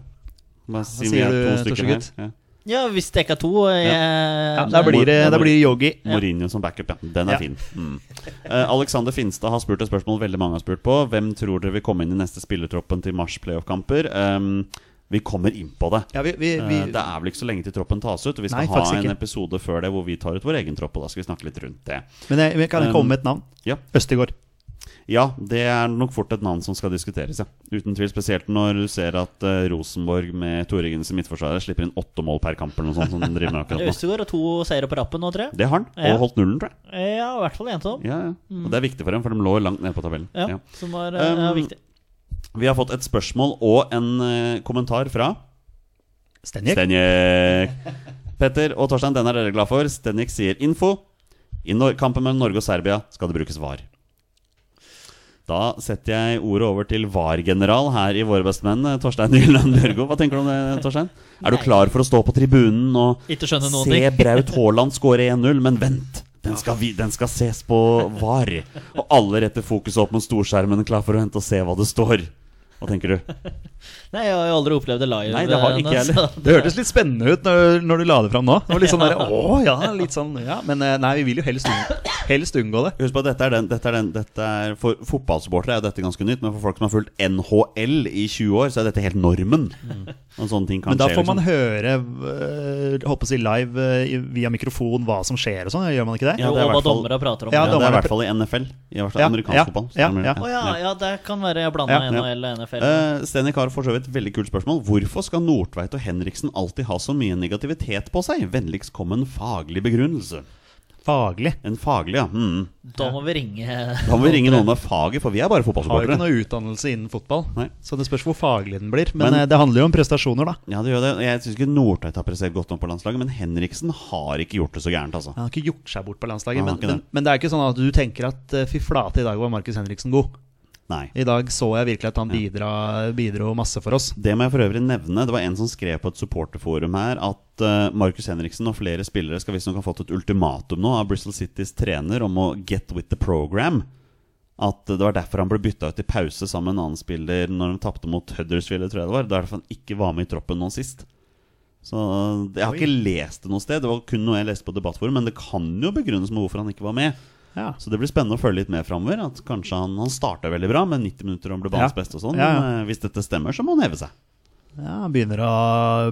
Speaker 1: Bare si vi
Speaker 2: sier
Speaker 1: er to
Speaker 2: du,
Speaker 1: stykker her.
Speaker 2: Torsegutt?
Speaker 1: Ja.
Speaker 3: Ja, hvis det ikke er to eh, jeg,
Speaker 2: Ja, da
Speaker 1: blir
Speaker 2: blir det,
Speaker 1: det- da blir
Speaker 2: blir yogi.
Speaker 1: Mourinho som backup, ja. Den er
Speaker 2: Ja.
Speaker 1: fin. Mm. Eh, Alexander Finstad har spurt et spørsmål veldig mange har spurt på. Hvem tror dere vil komme inn i neste spillertroppen til mars playoff-kamper? Um, vi kommer inn på det.
Speaker 2: Ja, vi, vi, vi,
Speaker 1: Eh, det er vel ikke så lenge til troppen tas ut. Og vi skal
Speaker 2: Nei,
Speaker 1: ha
Speaker 2: faktisk
Speaker 1: en
Speaker 2: ikke.
Speaker 1: episode før det hvor vi tar ut vår egen tropp. Og da skal vi snakke litt rundt det.
Speaker 2: men jeg, men kan jeg komme med et
Speaker 1: Um,
Speaker 2: navn?
Speaker 1: Ja.
Speaker 2: Østegård.
Speaker 1: Ja, det er nok fort et navn som skal diskuteres, ja. Uten tvil. Spesielt når du ser at eh, Rosenborg med Toregen som midtforsvarer slipper inn åtte mål per kamp eller noe sånt som de driver med akkurat nå.
Speaker 3: Østegård har to seire på rappen nå, tror jeg.
Speaker 1: Det har han.
Speaker 3: Ja.
Speaker 1: Og holdt nullen, tror jeg.
Speaker 3: Ja, i hvert fall en av dem.
Speaker 1: Ja, ja. Og det er viktig for dem, for de lå langt ned på tabellen.
Speaker 3: Ja,
Speaker 1: Ja.
Speaker 3: Som var eh, ja,
Speaker 1: Um,
Speaker 3: viktig.
Speaker 1: Vi har fått et spørsmål og en eh, kommentar fra
Speaker 2: Stenjek.
Speaker 1: Stenjek. Petter og Torstein, den er dere glad for. Stenjek sier info. I nor kampen mellom Norge og Serbia skal det brukes var. Da setter jeg ordet over til VAR-general her i Våre bestemenn, eh, Torstein Nyland Bjørgo. Hva tenker du om det, Torstein? Er du
Speaker 3: Nei.
Speaker 1: klar for å stå på tribunen og
Speaker 3: Ikke skjønner noen
Speaker 1: se
Speaker 3: ting.
Speaker 1: Braut Haaland skåre 1-0, men vent! Den skal, vi, den skal ses på VAR. Og alle retter fokuset opp mot storskjermen, klar for å hente og se hva det står. Hva tenker du?
Speaker 3: Nei, jeg har jo aldri opplevd det live.
Speaker 1: Nei, det har ikke jeg
Speaker 3: ennå,
Speaker 1: heller.
Speaker 3: så-
Speaker 2: Det hørtes litt spennende ut når, når du la det fram nå. Det var litt sånn der, Åh, ja, litt sånn, ja. Men eh, nei, vi vil jo helst, unngå- helst unngå det.
Speaker 1: Husk på at dette er den, dette er den dette er, For fotballsupportere er jo dette ganske nytt, men for folk som har fulgt NHL i 20 år, så er dette helt normen. Og sånne ting kan
Speaker 2: Mm. Men da
Speaker 1: skje,
Speaker 2: får man
Speaker 1: liksom.
Speaker 2: høre eh, håper å si live eh, i- via mikrofon hva som skjer og sånn, gjør man ikke det?
Speaker 1: Ja,
Speaker 3: Jo,
Speaker 1: det er i
Speaker 3: og hva
Speaker 1: hvert fall-
Speaker 3: dommere prater om.
Speaker 2: Ja,
Speaker 1: ja, det er i
Speaker 2: dommerne-
Speaker 1: hvert fall i NFL. I hvert fall
Speaker 2: Ja,
Speaker 1: amerikansk
Speaker 2: ja,
Speaker 1: fotball. så
Speaker 2: ja,
Speaker 1: stemmer det.
Speaker 2: ja.
Speaker 3: Å ja, ja, det kan være jeg blanda
Speaker 2: Ja,
Speaker 1: ja.
Speaker 3: NHL og NFL.
Speaker 1: Eh, Stenny Kahr får så vidt et veldig kult spørsmål. Hvorfor skal Nordtveit og Henriksen alltid ha så mye negativitet på seg? Vennligst kom en faglig begrunnelse.
Speaker 2: Faglig.
Speaker 1: En faglig, ja. Mm.
Speaker 3: da må vi ringe
Speaker 1: Da må vi ringe noen med faget, for vi er bare
Speaker 2: Har jo ikke
Speaker 1: fotballsupportere.
Speaker 2: noe utdannelse innen fotball,
Speaker 1: Nei.
Speaker 2: så det spørs hvor faglig den blir. Men,
Speaker 1: Men-
Speaker 2: eh, det handler jo om prestasjoner, da.
Speaker 1: Ja, det gjør det. Jeg syns ikke Nordtveit har prestert godt nok på landslaget, men Henriksen har ikke gjort det så gærent, altså.
Speaker 2: Han har ikke gjort seg bort på landslaget,
Speaker 1: Han har
Speaker 2: men,
Speaker 1: ikke
Speaker 2: men,
Speaker 1: det.
Speaker 2: men det er ikke sånn at du tenker at eh, fy flate, i dag var Markus Henriksen god.
Speaker 1: Nei.
Speaker 2: I dag så jeg virkelig at han bidra, bidro masse for oss.
Speaker 1: Det må jeg for øvrig nevne. Det var en som skrev på et supporterforum her at eh, Markus Henriksen og flere spillere skal visstnok ha fått et ultimatum nå av Bristol Citys trener om å get with the program. At eh, det var derfor han ble bytta ut i pause sammen med en annen spiller når de tapte mot Huddersfield, tror jeg det var. Det er Derfor han ikke var med i troppen nå sist. Så eh, jeg har ikke lest det noe sted. Det var kun noe jeg leste på debattforum, men det kan jo begrunnes med hvorfor han ikke var med.
Speaker 2: Ja.
Speaker 1: Så det blir spennende å følge litt med framover. At kanskje han, han starta veldig bra med 90 minutter og ble banens
Speaker 2: Ja.
Speaker 1: beste og sånn.
Speaker 2: Ja, ja.
Speaker 1: Men eh, hvis dette stemmer, så må han heve seg.
Speaker 2: Ja, han begynner å,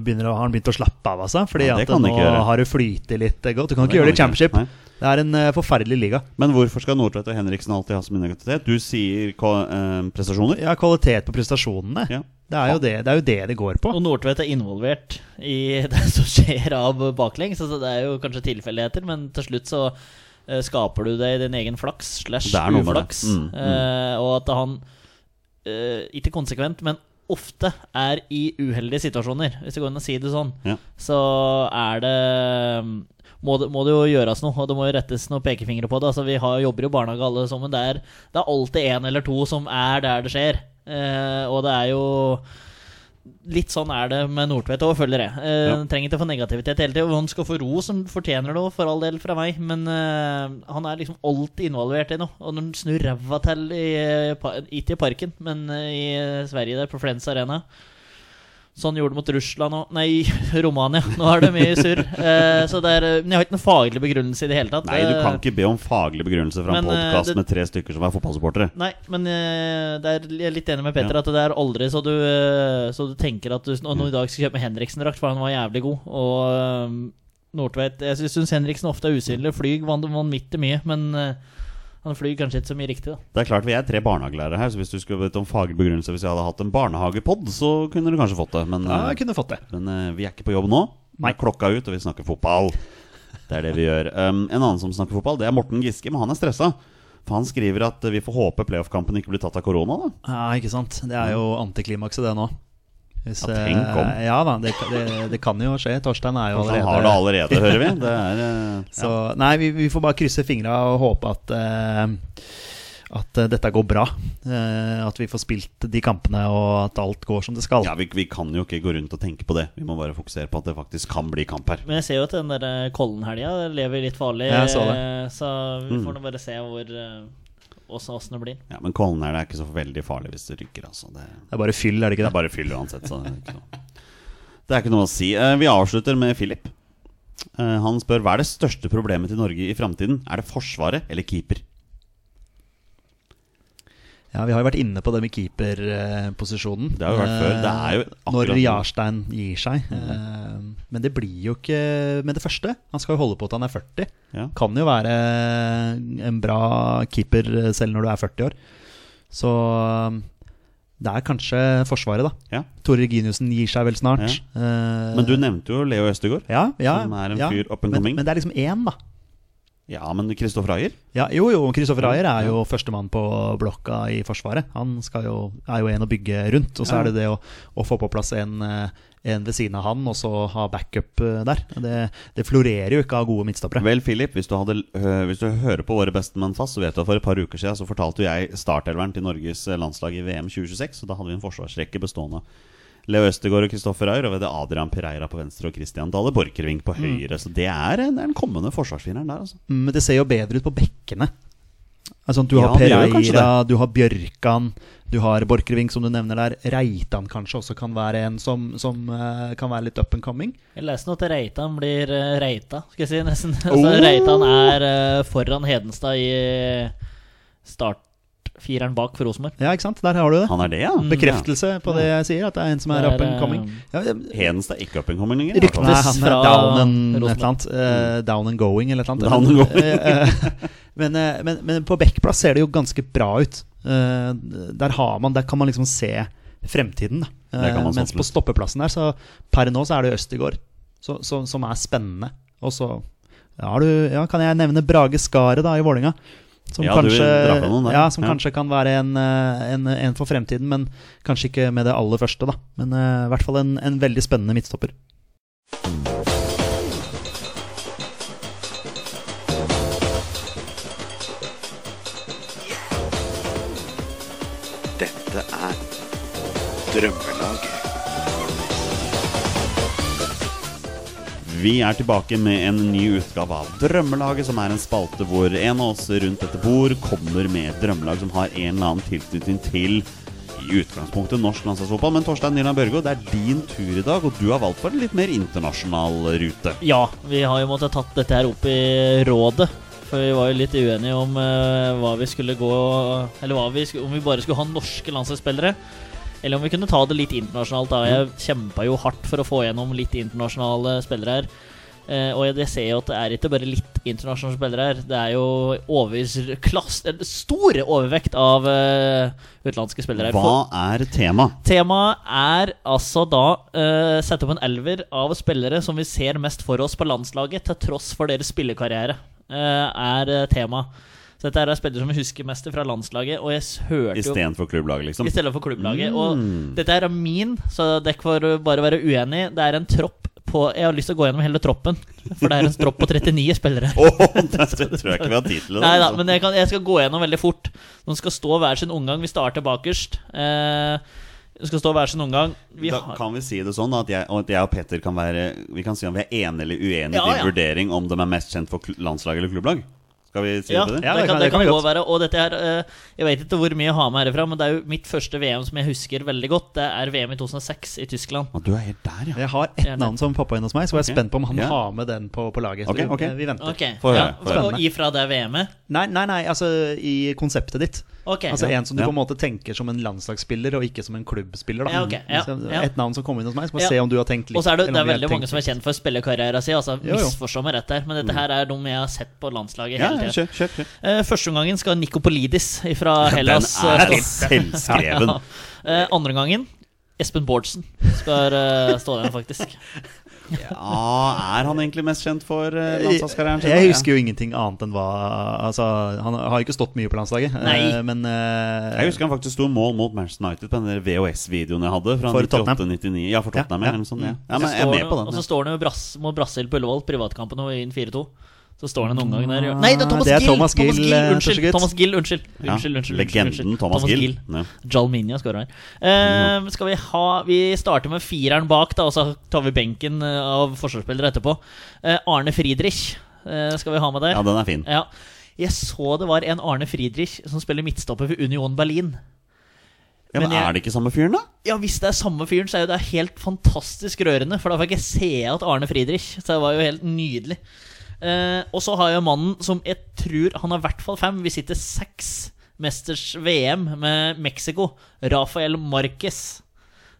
Speaker 2: begynner å, har han begynt å slappe av av seg? Fordi
Speaker 1: Ja, det
Speaker 2: at
Speaker 1: kan du
Speaker 2: nå
Speaker 1: ikke gjøre.
Speaker 2: har du flytet litt eh, godt. Du kan
Speaker 1: Det
Speaker 2: ikke gjøre det i
Speaker 1: kan du ikke.
Speaker 2: championship.
Speaker 1: Nei.
Speaker 2: Det er en eh, forferdelig liga.
Speaker 1: Men hvorfor skal Nordtvedt og Henriksen alltid ha så mye negativitet? Du sier ka- eh, prestasjoner.
Speaker 2: Ja, kvalitet på prestasjonene.
Speaker 1: Ja.
Speaker 2: Det, er jo det, det er jo det det går på.
Speaker 3: Og Nordtvedt er involvert i det som skjer av baklengs. Altså, det er jo kanskje tilfeldigheter, men til slutt så eh, skaper du det i din egen flaks slash
Speaker 1: Det er noe med det.
Speaker 3: uflaks.
Speaker 1: Mm, mm.
Speaker 3: Eh, og at han eh, ikke konsekvent, men ofte er i uheldige situasjoner, hvis det går an å si det sånn.
Speaker 1: Ja.
Speaker 3: Så er det må, det må det jo gjøres noe, og det må jo rettes noen pekefingre på det. Altså, vi har, jobber jo i barnehage alle sammen. Det er, det er alltid én eller to som er der det skjer. Eh, og det er jo Litt sånn er det med Nordtvedt òg, føler jeg. Eh,
Speaker 1: Ja.
Speaker 3: Trenger ikke få negativitet hele tida. Han skal få ro, som fortjener det òg, for all del, fra meg. Men eh, han er liksom alltid involvert i noe. Og når han snur ræva til, i, eh, pa- ikke i parken, men eh, i eh, Sverige der, på Flens Arena Sånn gjorde de mot Russland og Nei, Romania. Nå er det mye surr. Eh, så det er eh, Men jeg har ikke noen faglig begrunnelse i det hele tatt.
Speaker 1: Nei, du
Speaker 3: Eh,
Speaker 1: kan ikke be om faglig begrunnelse fra en
Speaker 3: Men, eh,
Speaker 1: podkast
Speaker 3: det-
Speaker 1: med tre stykker som er fotballsupportere.
Speaker 3: Nei, men eh, det er, jeg er litt enig med Petter
Speaker 1: Ja.
Speaker 3: at det er aldri så du, eh, så du tenker at du nå,
Speaker 2: Mm.
Speaker 3: nå i dag skal jeg kjøpe Henriksen-drakt, for han var jævlig god. Og eh, Nordtveit Jeg syns Henriksen ofte er
Speaker 2: Mm.
Speaker 3: usynlig. Flyg vant van midt i mye, men eh, han flyr kanskje ikke så mye riktig, da.
Speaker 1: Det er klart Vi er tre barnehagelærere her, så hvis du skulle bedt om faglig begrunnelse hvis jeg hadde hatt en barnehagepod, så kunne du kanskje fått det. Men,
Speaker 2: Ja,
Speaker 1: eh,
Speaker 2: jeg kunne fått det.
Speaker 1: men eh, vi er ikke på jobb nå. Nå
Speaker 2: Nei.
Speaker 1: er klokka ut, og vi snakker fotball. Det er det vi gjør. Um, en annen som snakker fotball, det er Morten Giske, men han er stressa. For han skriver at eh, vi får håpe playoff-kampen ikke blir tatt av korona, da.
Speaker 2: Ja, ikke sant. Det er jo antiklimakset, det nå. Hvis,
Speaker 1: Ja, tenk om.
Speaker 2: eh, Ja da, det, det, det kan jo skje. Torstein er jo
Speaker 1: Kanskje
Speaker 2: allerede
Speaker 1: han har det allerede, hører vi. Det er eh,
Speaker 2: Så nei, vi, vi får bare krysse fingra og håpe at eh, At eh, dette går bra. Eh, at vi får spilt de kampene, og at alt går som det skal.
Speaker 1: Ja, vi, vi kan jo ikke gå rundt og tenke på det. Vi må bare fokusere på at det faktisk kan bli kamp her.
Speaker 3: Men jeg ser jo at den der eh, Kollen-helga lever litt farlig,
Speaker 2: Ja, jeg så det. Mm.
Speaker 3: eh, så vi får nå bare se hvor eh, åssen det blir.
Speaker 1: Ja, Men Kollen her det er ikke så veldig farlig hvis det rykker, altså. Det,
Speaker 2: Det er bare fyll, er det
Speaker 1: det
Speaker 2: ikke
Speaker 1: er
Speaker 2: det?
Speaker 1: bare fyll uansett, så det er ikke noe, det er ikke noe å si. Eh, Vi avslutter med Philip. Eh, Han spør hva er det største problemet til Norge i framtiden. Er det Forsvaret eller keeper?
Speaker 2: Ja, Vi har jo vært inne på det med keeperposisjonen. Eh,
Speaker 1: Det har jo vært før. Det er jo akkurat
Speaker 2: Når
Speaker 1: nå. Mm.
Speaker 2: Jarstein gir seg. Eh, men det blir jo ikke med det første. Han skal jo holde på til han er 40.
Speaker 1: Ja.
Speaker 2: Kan jo være en bra keeper selv når du er 40 år. Så eh, det er kanskje Forsvaret, da.
Speaker 1: ja.
Speaker 2: Tore Reginiussen gir seg vel snart. Eh,
Speaker 1: Men du nevnte jo Leo Østegård.
Speaker 2: ja, ja,
Speaker 1: som er en
Speaker 2: ja.
Speaker 1: fyr up and coming.
Speaker 2: Men, men det er liksom én, da.
Speaker 1: Ja, men Kristoffer Ayer?
Speaker 2: Ja, jo, jo. Kristoffer Ayer er jo førstemann på blokka i Forsvaret. Han skal jo, er jo en å bygge rundt. Og så
Speaker 1: Ja.
Speaker 2: er det det å, å få på plass en, eh, en ved siden av han, og så ha backup eh, der. Det, det florerer jo ikke av gode midtstoppere.
Speaker 1: Vel, Philip, hvis du, hadde, øh, hvis du hører på våre bestemenn fast, så vet du at for et par uker siden eh, så fortalte jo jeg startelveren til Norges landslag i VM 2026, og da hadde vi en forsvarsrekke bestående av Leo Østegård og Kristoffer Ayer. Og ved det Adrian Pereira på venstre og Christian Dale Borchgrevink på høyre. Så det er en- den kommende forsvarsfireren der, altså.
Speaker 2: Mm, Men det ser jo bedre ut på bekkene. Altså, du har
Speaker 1: Ja, det gjør jo kanskje
Speaker 2: Pereira, du har Bjørkan, du har Borchgrevink, som du nevner der. Reitan kanskje også kan være en som, som eh, kan være litt up and coming.
Speaker 3: Jeg leste nå at Reitan blir eh, Reita, skal jeg si. nesten Så Reitan er eh, foran Hedenstad i startfireren bak for Rosenborg.
Speaker 2: Ja, ikke sant? Der har du det.
Speaker 1: Han er det, ja.
Speaker 2: Bekreftelse på det jeg sier, at det er en som er
Speaker 3: Det er,
Speaker 2: up and coming.
Speaker 3: eh,
Speaker 2: Ja, jeg-
Speaker 1: Ja. Hedenstad er ikke up and coming lenger. i hvert fall. Mm.
Speaker 3: Ryktes
Speaker 2: Nei, han er
Speaker 3: fra
Speaker 2: down and, et
Speaker 3: Rosenborg.
Speaker 2: eller annet, eh, down and going eller et eller
Speaker 1: Down
Speaker 2: annet.
Speaker 1: and going.
Speaker 2: Eh, eh, men, eh, men, men på Bekkplass ser det jo ganske bra ut. Eh, der, har man, der kan man liksom se fremtiden. Da. Eh,
Speaker 1: Det kan man så
Speaker 2: mens på
Speaker 1: absolutt.
Speaker 2: stoppeplassen der, så per nå så er det Østigård så, så, som er spennende. Og så ja, har du, ja, kan jeg nevne Brage Skaret da, i Vålinga. Som,
Speaker 1: Ja, du
Speaker 2: kanskje,
Speaker 1: drar fra noen der.
Speaker 2: ja, som
Speaker 1: Ja.
Speaker 2: kanskje kan være en, eh, en, en for fremtiden, men kanskje ikke med det aller første. da Men eh, i hvert fall en, en veldig spennende midtstopper.
Speaker 5: Dette er Drømmelaget.
Speaker 1: Vi er tilbake med en ny utgave av Drømmelaget, som er en spalte hvor en av oss rundt dette bord kommer med et drømmelag som har en eller annen tilknytning til i utgangspunktet norsk landslagsfotball. Men Torstein Nyland Børgo, det er din tur i dag, og du har valgt for en litt mer internasjonal rute.
Speaker 3: Ja, vi har jo måttet tatt dette her opp i rådet. For vi var jo litt uenige om eh, hva vi skulle gå Eller hva vi sku, om vi bare skulle ha norske landslagsspillere. Eller om vi kunne ta det litt internasjonalt. da Jeg kjempa jo hardt for å få gjennom litt internasjonale spillere her. Eh, og jeg- jeg ser jo at det er ikke bare litt internasjonale spillere her. Det er jo overvis klass, en stor overvekt av eh, utenlandske spillere her. For-
Speaker 1: Hva er temaet?
Speaker 3: Temaet er altså da eh, sette opp en elver av spillere som vi ser mest for oss på landslaget, til tross for deres spillekarriere, eh, er eh, tema. Så dette er spillere som vi husker mest fra landslaget, og jeg s- hørte jo
Speaker 1: Istedenfor klubblaget, liksom?
Speaker 3: i stedet for klubblaget.
Speaker 1: Mm.
Speaker 3: Og dette her er min, så dere får bare være uenig. Det er en tropp på Jeg har lyst til å gå gjennom hele troppen, for det er en tropp på 39 spillere.
Speaker 1: Åh, det tror jeg ikke vi har tid til. det,
Speaker 3: Nei da,
Speaker 1: altså.
Speaker 3: men jeg, kan, jeg skal gå gjennom veldig fort. De skal stå hver sin omgang. Vi starter bakerst. Eh, de skal stå hver sin omgang. Vi
Speaker 1: da
Speaker 3: har-
Speaker 1: kan vi si det sånn at jeg, og at jeg og Petter kan være Vi kan si om vi er enige eller uenige i
Speaker 3: Ja, ja.
Speaker 1: din vurdering om de er mest kjent for kl- landslag eller klubblag. Skal vi si
Speaker 3: Ja,
Speaker 1: det?
Speaker 3: det,
Speaker 1: til det?
Speaker 2: Ja,
Speaker 3: kan, det
Speaker 2: kan
Speaker 3: kan
Speaker 2: vi
Speaker 3: gå
Speaker 2: godt.
Speaker 3: være. Og dette er, eh, jeg vet ikke hvor mye jeg har med herfra, men det er jo mitt første VM som jeg husker veldig godt. Det er VM i 2006 i Tyskland.
Speaker 1: Å, du er helt der, ja.
Speaker 2: Jeg har ett
Speaker 3: Gjerne.
Speaker 2: navn som poppa inn hos meg, så var jeg
Speaker 1: Ok.
Speaker 2: spent på om han
Speaker 1: Ja.
Speaker 2: har med den på, på laget. Så
Speaker 1: Ok, ok.
Speaker 2: Vi, vi venter.
Speaker 3: Ok,
Speaker 1: Få høre,
Speaker 3: ja,
Speaker 1: få høre.
Speaker 3: Og ifra det VM-et?
Speaker 2: Nei, nei, nei, altså i konseptet ditt.
Speaker 3: Ok.
Speaker 2: Altså En som du
Speaker 1: Ja.
Speaker 2: på en måte tenker som en landslagsspiller, og ikke som en klubbspiller. Da.
Speaker 3: Ja, ok. Ja,
Speaker 2: Så
Speaker 3: ja.
Speaker 2: Et navn som kom inn hos meg, så må jeg
Speaker 3: Ja.
Speaker 2: se om du har tenkt litt.
Speaker 3: Og så er det, det
Speaker 2: eller
Speaker 3: er
Speaker 2: om vi
Speaker 3: veldig
Speaker 2: har
Speaker 3: mange som er
Speaker 2: tenkt litt.
Speaker 3: kjent for spillekarrieren sin. Altså,
Speaker 2: Jo, jo.
Speaker 3: misforstå meg rett der, men dette her er de jeg har sett på
Speaker 1: Mm.
Speaker 3: landslaget
Speaker 1: Ja,
Speaker 3: hele tiden.
Speaker 1: kjør, kjør, kjør.
Speaker 3: Eh, Førsteomgangen skal Nikopolidis fra
Speaker 1: Den
Speaker 3: Hellas.
Speaker 1: er
Speaker 3: eh,
Speaker 1: litt selvskreven.
Speaker 3: Ja. Eh, Andreomgangen Espen Bårdsen skal eh, stå der, faktisk.
Speaker 1: Ja, er han egentlig mest kjent for eh, landslagskarrieren sin?
Speaker 2: Jeg husker jo ingenting annet enn hva Altså, han har ikke stått mye på landslaget, eh,
Speaker 3: Nei.
Speaker 2: men
Speaker 1: Ja.
Speaker 2: eh,
Speaker 1: Jeg husker han faktisk sto i mål mot Manchester United på den der VHS-videoen jeg hadde. Fra
Speaker 2: For Tottenham.
Speaker 1: 98-99. Ja, for Tottenham. Ja,
Speaker 2: Ja, ja.
Speaker 1: Eller noe sånt, ja.
Speaker 2: Mm.
Speaker 1: ja, men
Speaker 3: Så
Speaker 1: jeg er
Speaker 3: står
Speaker 1: med
Speaker 3: han-
Speaker 1: på
Speaker 3: Og
Speaker 1: den.
Speaker 3: så
Speaker 1: ja.
Speaker 3: står han jo brass, mot Brasil på Ullevål, privatkampen og vinner 4-2. Så står han en omgang der. gjør-
Speaker 2: Ah,
Speaker 3: Nei, det er Thomas
Speaker 2: det er
Speaker 3: Gill!
Speaker 2: Thomas Gill, eh, første
Speaker 3: unnskyld,
Speaker 2: gutt.
Speaker 3: Thomas Gill, unnskyld.
Speaker 1: Ja,
Speaker 3: Unnskyld, unnskyld,
Speaker 1: Legenden
Speaker 3: unnsgill, unnskyld.
Speaker 1: Thomas Gill. Ja.
Speaker 3: Jalminia skårer her. Eh, skal vi ha Vi starter med fireren bak, da, og så tar vi benken eh, av forsvarsspillere etterpå. Eh, Arne Friedrich eh, skal vi ha med der.
Speaker 1: ja, den er fin.
Speaker 3: Ja. Jeg så det var en Arne Friedrich som spiller midtstopper for Union Berlin.
Speaker 1: Ja, men
Speaker 3: men jeg-
Speaker 1: Er det ikke samme fyren, da?
Speaker 3: Ja, hvis det er samme fyren, så er jo det helt fantastisk rørende. For da fikk jeg se at Arne Friedrich. Så det var jo helt nydelig. Eh, og så har jeg mannen som jeg tror Han har i hvert fall fem. Vi sitter seks mesters VM med Mexico. Rafael Marquez.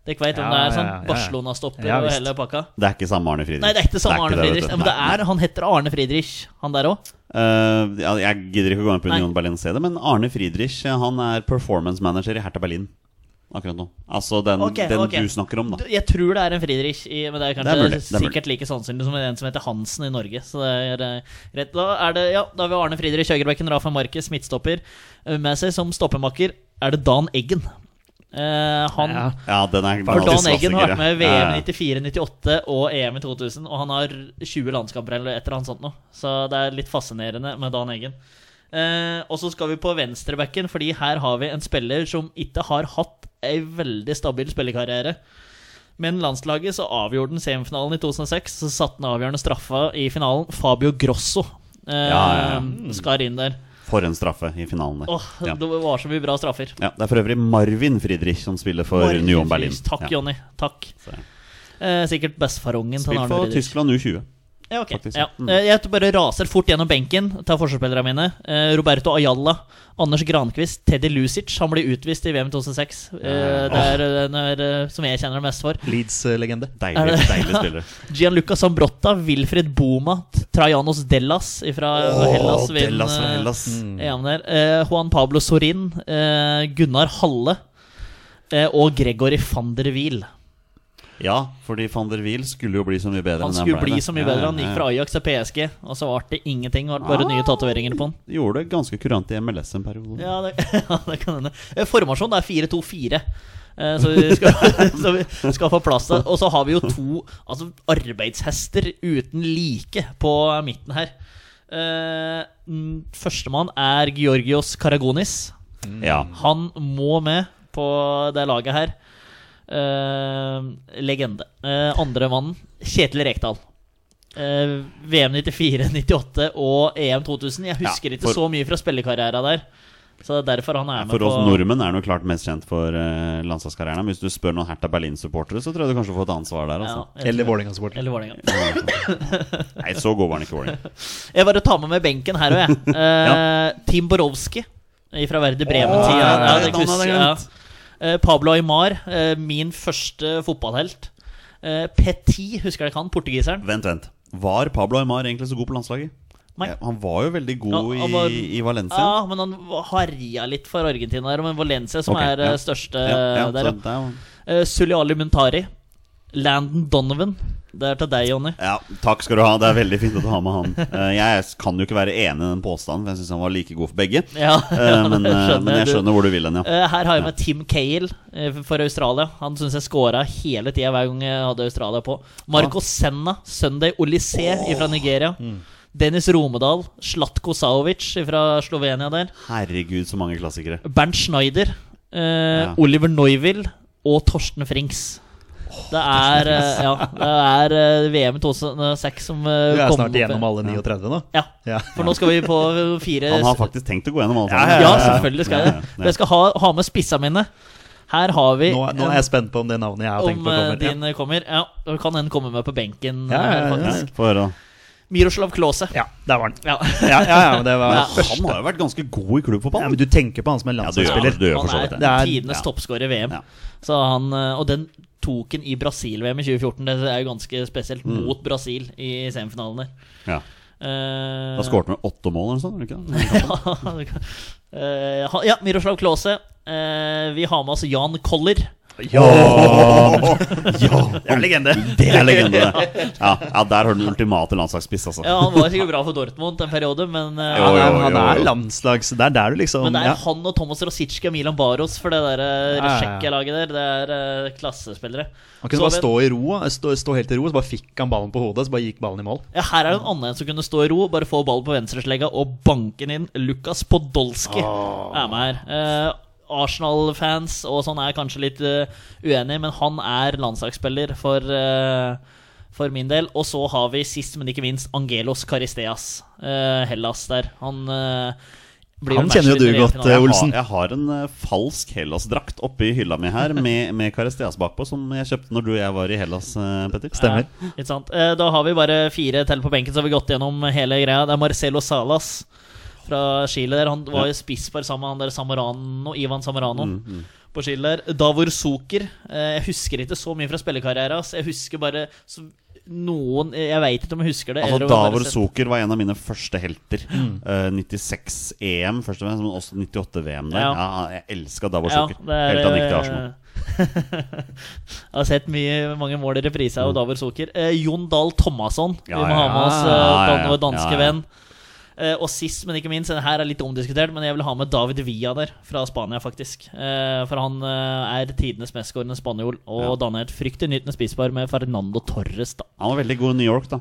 Speaker 3: Dere veit
Speaker 2: Ja,
Speaker 3: hvem det er? sånn
Speaker 2: ja, ja, ja.
Speaker 3: Barcelona-stopper
Speaker 2: Ja,
Speaker 3: og
Speaker 2: visst.
Speaker 3: hele pakka.
Speaker 1: Det er ikke samme Arne Friedrich.
Speaker 3: Nei, det er ikke det samme Arne
Speaker 1: det, vet
Speaker 3: Friedrich.
Speaker 1: du.
Speaker 3: Men det
Speaker 1: Nei, nei.
Speaker 3: er, han heter Arne Friedrich, han der òg.
Speaker 1: Eh, ja, jeg gidder ikke å gå inn på
Speaker 3: Nei.
Speaker 1: Union Berlin og se det, men Arne Friedrich eh, Han er performance manager i Hertha Berlin akkurat nå. Altså den,
Speaker 3: Ok,
Speaker 1: den
Speaker 3: ok.
Speaker 1: du snakker om, da.
Speaker 3: Jeg tror det er en Friedrich, i, men det er kanskje
Speaker 1: Det er mulig, det er mulig.
Speaker 3: sikkert like sannsynlig som en som heter Hansen i Norge. Så det er eh, greit. Da er det, ja, da har vi Arne Friedrich Høyrebekken, Rafa Marquez, midtstopper. Eh, Med seg som stoppemakker er det Dan Eggen. Eh, han,
Speaker 2: Ja.
Speaker 1: Ja, den er
Speaker 3: For Dan
Speaker 1: faktisk
Speaker 3: Eggen har
Speaker 1: klassiker,
Speaker 3: vært med i
Speaker 1: ja. Ja,
Speaker 3: VM
Speaker 1: ja.
Speaker 3: i 94, 98 og EM i 2000, og han har 20 landskamper eller et eller annet sånt nå. Så det er litt fascinerende med Dan Eggen. Eh, og så skal vi på venstrebacken, fordi her har vi en spiller som ikke har hatt ei veldig stabil spillekarriere. Men landslaget så avgjorde den semifinalen i 2006. Så satte den avgjørende straffa i finalen. Fabio Grosso eh,
Speaker 1: Ja, ja,
Speaker 3: skar inn der.
Speaker 1: Eh, For en straffe i finalen der.
Speaker 3: Åh,
Speaker 1: ja.
Speaker 3: Det var så mye bra straffer.
Speaker 1: Ja, det er for øvrig Marvin Friedrich som spiller for
Speaker 3: Markus,
Speaker 1: Union Berlin.
Speaker 3: Takk,
Speaker 1: ja.
Speaker 3: Jonny. Takk.
Speaker 1: Så-
Speaker 3: Eh, sikkert bestefarongen til
Speaker 1: Spilt
Speaker 3: Arne
Speaker 1: for
Speaker 3: Riedrich.
Speaker 1: Tyskland U20.
Speaker 3: Ja, ok.
Speaker 1: faktisk.
Speaker 3: Ja.
Speaker 1: Mm.
Speaker 3: Eh, Jeg bare raser fort gjennom benken, tar forsvarsspillerne mine. Eh, Roberto Ayala, Anders Grankvist, Teddy Lucic. Han ble utvist i VM 2006. Eh, Det er eh, den er, eh, som jeg kjenner mest for.
Speaker 2: Leeds-legende.
Speaker 3: Er
Speaker 1: Deilig,
Speaker 3: det-
Speaker 1: deilig spiller.
Speaker 3: Gianluca Sambrotta, Wilfred Boma, Trajanos Dellas fra Hellas.
Speaker 1: Åh,
Speaker 3: vinner,
Speaker 1: Hellas fra
Speaker 3: eh,
Speaker 1: Hellas.
Speaker 2: Mm.
Speaker 1: Mm.
Speaker 3: EM der. Eh, Juan Pablo Sorin, eh, Gunnar Halle eh, og Gregory van der Wiel.
Speaker 1: Ja, fordi van der Wiel skulle jo bli så mye bedre
Speaker 3: Han
Speaker 1: enn
Speaker 3: skulle
Speaker 1: ble,
Speaker 3: bli
Speaker 1: det.
Speaker 3: så mye
Speaker 1: Ja,
Speaker 3: bedre. Han
Speaker 1: ja,
Speaker 3: gikk
Speaker 1: ja.
Speaker 3: fra Ajax til PSG, og så ble det ingenting. Det ble bare nye tatoveringer på han.
Speaker 1: Gjorde det ganske kurant i MLS en periode.
Speaker 3: Ja, det, ja, det kan hende. Eh, Formasjonen er 4-2-4. eh, Så vi, skal, så vi skal få plass til Og så har vi jo to altså, arbeidshester uten like på midten her. Eh, mm, Førstemann er Georgios Karagonis.
Speaker 1: Ja.
Speaker 3: Han må med på det laget her. Eh, legende. Eh, andre mannen, Kjetil Rekdal. Eh, VM 94, 98 og EM 2000. Jeg husker
Speaker 1: Ja,
Speaker 3: ikke
Speaker 1: for-
Speaker 3: så mye fra spillekarriera der. Så det er derfor han er med
Speaker 1: For oss
Speaker 3: på
Speaker 1: nordmenn er han jo klart mest kjent for eh, landslagskarrieren. Men hvis du spør noen Hertha Berlin-supportere, så tror jeg du kanskje får et annet svar der.
Speaker 3: Ja,
Speaker 1: Altså.
Speaker 3: jeg
Speaker 2: Eller
Speaker 3: tror-
Speaker 2: Vålerenga-supporter.
Speaker 3: eller Vålerenga.
Speaker 1: Nei, så god var han ikke. Warning.
Speaker 3: Jeg bare tar med meg benken her òg, jeg. Eh, Tim Borowski eh, fra Verde Bremen.
Speaker 1: Åh,
Speaker 3: tida
Speaker 1: ja,
Speaker 3: ja,
Speaker 1: det
Speaker 3: det
Speaker 1: er et navn
Speaker 3: husker
Speaker 1: jeg
Speaker 3: jeg,
Speaker 1: hadde
Speaker 3: ja. Eh, Pablo Aymar, eh, min første fotballhelt. Eh, Petit, husker dere han? Portugiseren.
Speaker 1: Vent, vent. Var Pablo Aymar egentlig så god på landslaget?
Speaker 3: Nei.
Speaker 1: Eh, Han var jo veldig god
Speaker 3: Ja, han var-
Speaker 1: i, i Valencia.
Speaker 3: Ja, men han harja litt for Argentina der. Men Valencia, som
Speaker 1: Ok,
Speaker 3: er eh,
Speaker 1: ja.
Speaker 3: største
Speaker 1: Ja, ja,
Speaker 3: eh,
Speaker 1: så
Speaker 3: der, ja.
Speaker 1: det er jo-
Speaker 3: Eh, Suliali Muntari. Landon Donovan. Det er til deg, Jonny.
Speaker 1: Ja, takk skal du ha. Det er veldig fint at du har med han. Eh, Jeg kan jo ikke være enig i den påstanden, for jeg syns han var like god for begge.
Speaker 3: Ja,
Speaker 1: Eh,
Speaker 3: ja,
Speaker 1: Men,
Speaker 3: det
Speaker 1: eh, men jeg
Speaker 3: du.
Speaker 1: skjønner hvor du vil hen, ja.
Speaker 3: Eh, Her har jeg med Tim Cale eh, for Australia. Han syns jeg scora hele tida hver gang jeg hadde Australia på. Marco Senna, Sunday Olysée fra Nigeria.
Speaker 1: Mm.
Speaker 3: Dennis Romedal, Slatko Saovic fra Slovenia der.
Speaker 1: Herregud, så mange klassikere.
Speaker 3: Bernt Schneider, eh,
Speaker 1: Ja.
Speaker 3: Oliver Neuville og Torsten Frings. Det er, eh, ja, det er eh, VM 2006 som eh,
Speaker 2: Du er
Speaker 3: kom
Speaker 2: snart
Speaker 3: opp, ja.
Speaker 2: igjennom alle 39 nå.
Speaker 3: Ja,
Speaker 2: Ja.
Speaker 3: for nå skal vi på eh, fire
Speaker 1: Han har faktisk tenkt å gå gjennom alle sammen.
Speaker 3: Ja, selvfølgelig skal jeg
Speaker 1: Ja,
Speaker 3: det.
Speaker 1: ja, ja.
Speaker 3: Men jeg skal ha, ha med spissa mine. Her har vi
Speaker 2: Nå, nå er jeg spent på om det navnet jeg har tenkt
Speaker 3: om
Speaker 2: på
Speaker 3: eh,
Speaker 2: kommer.
Speaker 3: din eh, kommer. Ja, da kan den komme med på benken.
Speaker 2: Ja, ja,
Speaker 3: eh,
Speaker 2: ja,
Speaker 3: faktisk.
Speaker 1: Få høre, da.
Speaker 3: Miroslav Klause.
Speaker 2: Ja, der var den.
Speaker 3: Ja.
Speaker 2: Ja, ja, ja, men det var
Speaker 1: Men Han har jo vært ganske god i
Speaker 2: ja,
Speaker 1: klubbfotball.
Speaker 2: men Du tenker på han som en
Speaker 1: Ja, du gjør
Speaker 2: landslagsspiller.
Speaker 1: det, du gjør for så
Speaker 3: Han
Speaker 1: vidt
Speaker 3: er
Speaker 1: det.
Speaker 2: Det er-
Speaker 3: tidenes toppskårer i VM.
Speaker 1: Ja.
Speaker 3: Så han, eh, og den tok han i Brasil-VM i 2014. Det er jo ganske spesielt.
Speaker 2: Mm.
Speaker 3: Mot Brasil i semifinalen der.
Speaker 1: Ja.
Speaker 3: Eh,
Speaker 1: Da skåret han vel åtte mål eller noe sånt? gjorde han Ikke? det?
Speaker 3: ja, det kan- Eh, ha- ja, Miroslav Klause. Eh, vi har med oss Jan Koller.
Speaker 2: Det er en legende.
Speaker 1: Det er legende, det. Ja, ja der har du den ultimate landslagsspiss, altså.
Speaker 3: Ja, Han var sikkert bra for Dortmund en periode, men eh,
Speaker 1: Jo,
Speaker 2: Han
Speaker 1: jo,
Speaker 2: er,
Speaker 1: jo,
Speaker 2: han
Speaker 1: jo.
Speaker 2: er landslags... Det er der du liksom
Speaker 3: Men det er
Speaker 2: ja.
Speaker 3: han og Thomas Rosicki og Milan Baros for det der eh,
Speaker 2: Ja, ja, ja.
Speaker 3: Tsjekkia-laget der. Det er eh, klassespillere.
Speaker 2: Han kunne
Speaker 3: Så
Speaker 2: bare
Speaker 3: men-
Speaker 2: stå i ro, eh, stå, stå helt i ro, så bare fikk han ballen på hodet, så bare gikk ballen i mål.
Speaker 3: ja, her er det en annen som kunne stå i ro, bare få ballen på venstreslegga og banke den inn. Lukas Podolski er med her. Eh, Arsenal-fans og sånn er kanskje litt eh, uenig, men han er landslagsspiller for eh, for min del. Og så har vi sist, men ikke minst, Angelos Karisteas. eh, Hellas der. Han eh, blir
Speaker 2: Han
Speaker 3: vel
Speaker 2: kjenner jo du
Speaker 3: matchvinner i
Speaker 2: godt,
Speaker 3: finalen.
Speaker 2: eh, Ole.
Speaker 1: Jeg
Speaker 2: Olsen.
Speaker 1: har, jeg har en eh, falsk Hellas-drakt oppi hylla mi her, med, med Karisteas bakpå, som jeg kjøpte når du og jeg var i Hellas, eh, Petter.
Speaker 2: Stemmer.
Speaker 3: Ja, ikke sant? Eh, Da har vi bare fire til på benken, så har vi gått gjennom hele greia. Det er Marcelo Salas fra Chile der. Han var jo spissbar sammen med han der Samorano, Ivan Samorano
Speaker 1: Mm,
Speaker 3: på Chile der. Davor Zucker. Eh, Jeg husker ikke så mye fra spillekarrieren hans. Jeg husker bare så noen Jeg veit ikke om jeg husker det.
Speaker 1: Altså,
Speaker 3: eller om jeg bare
Speaker 1: Davor
Speaker 3: sett-
Speaker 1: Zucker var en av mine første helter.
Speaker 2: Mm.
Speaker 1: Eh, E 96 EM, først og fremst, men også 98 VM. der ja.
Speaker 3: Ja.
Speaker 1: Jeg elska Davor
Speaker 3: Ja,
Speaker 1: Zucker.
Speaker 3: det er- eh,
Speaker 1: Helt til han gikk til Arsenal.
Speaker 3: Jeg har sett mye, mange mål i reprise av Davor Soker. Eh, Jon Dahl Thomasson,
Speaker 1: Mm. Ja,
Speaker 3: vi må
Speaker 1: ja,
Speaker 3: ha med oss. Eh,
Speaker 1: ja, ja,
Speaker 3: dan
Speaker 1: ja,
Speaker 3: vår danske
Speaker 1: ja, ja.
Speaker 3: venn. Eh, og sist, men ikke minst, den her er litt omdiskutert, men jeg vil ha med David Villa der, fra Spania, faktisk. Eh, for han eh, er tidenes mestskårende spanjol, og
Speaker 1: Ja.
Speaker 3: danner et fryktelig nytende spisepar med Fernando Torres, da.
Speaker 1: Han var veldig god i New York, da.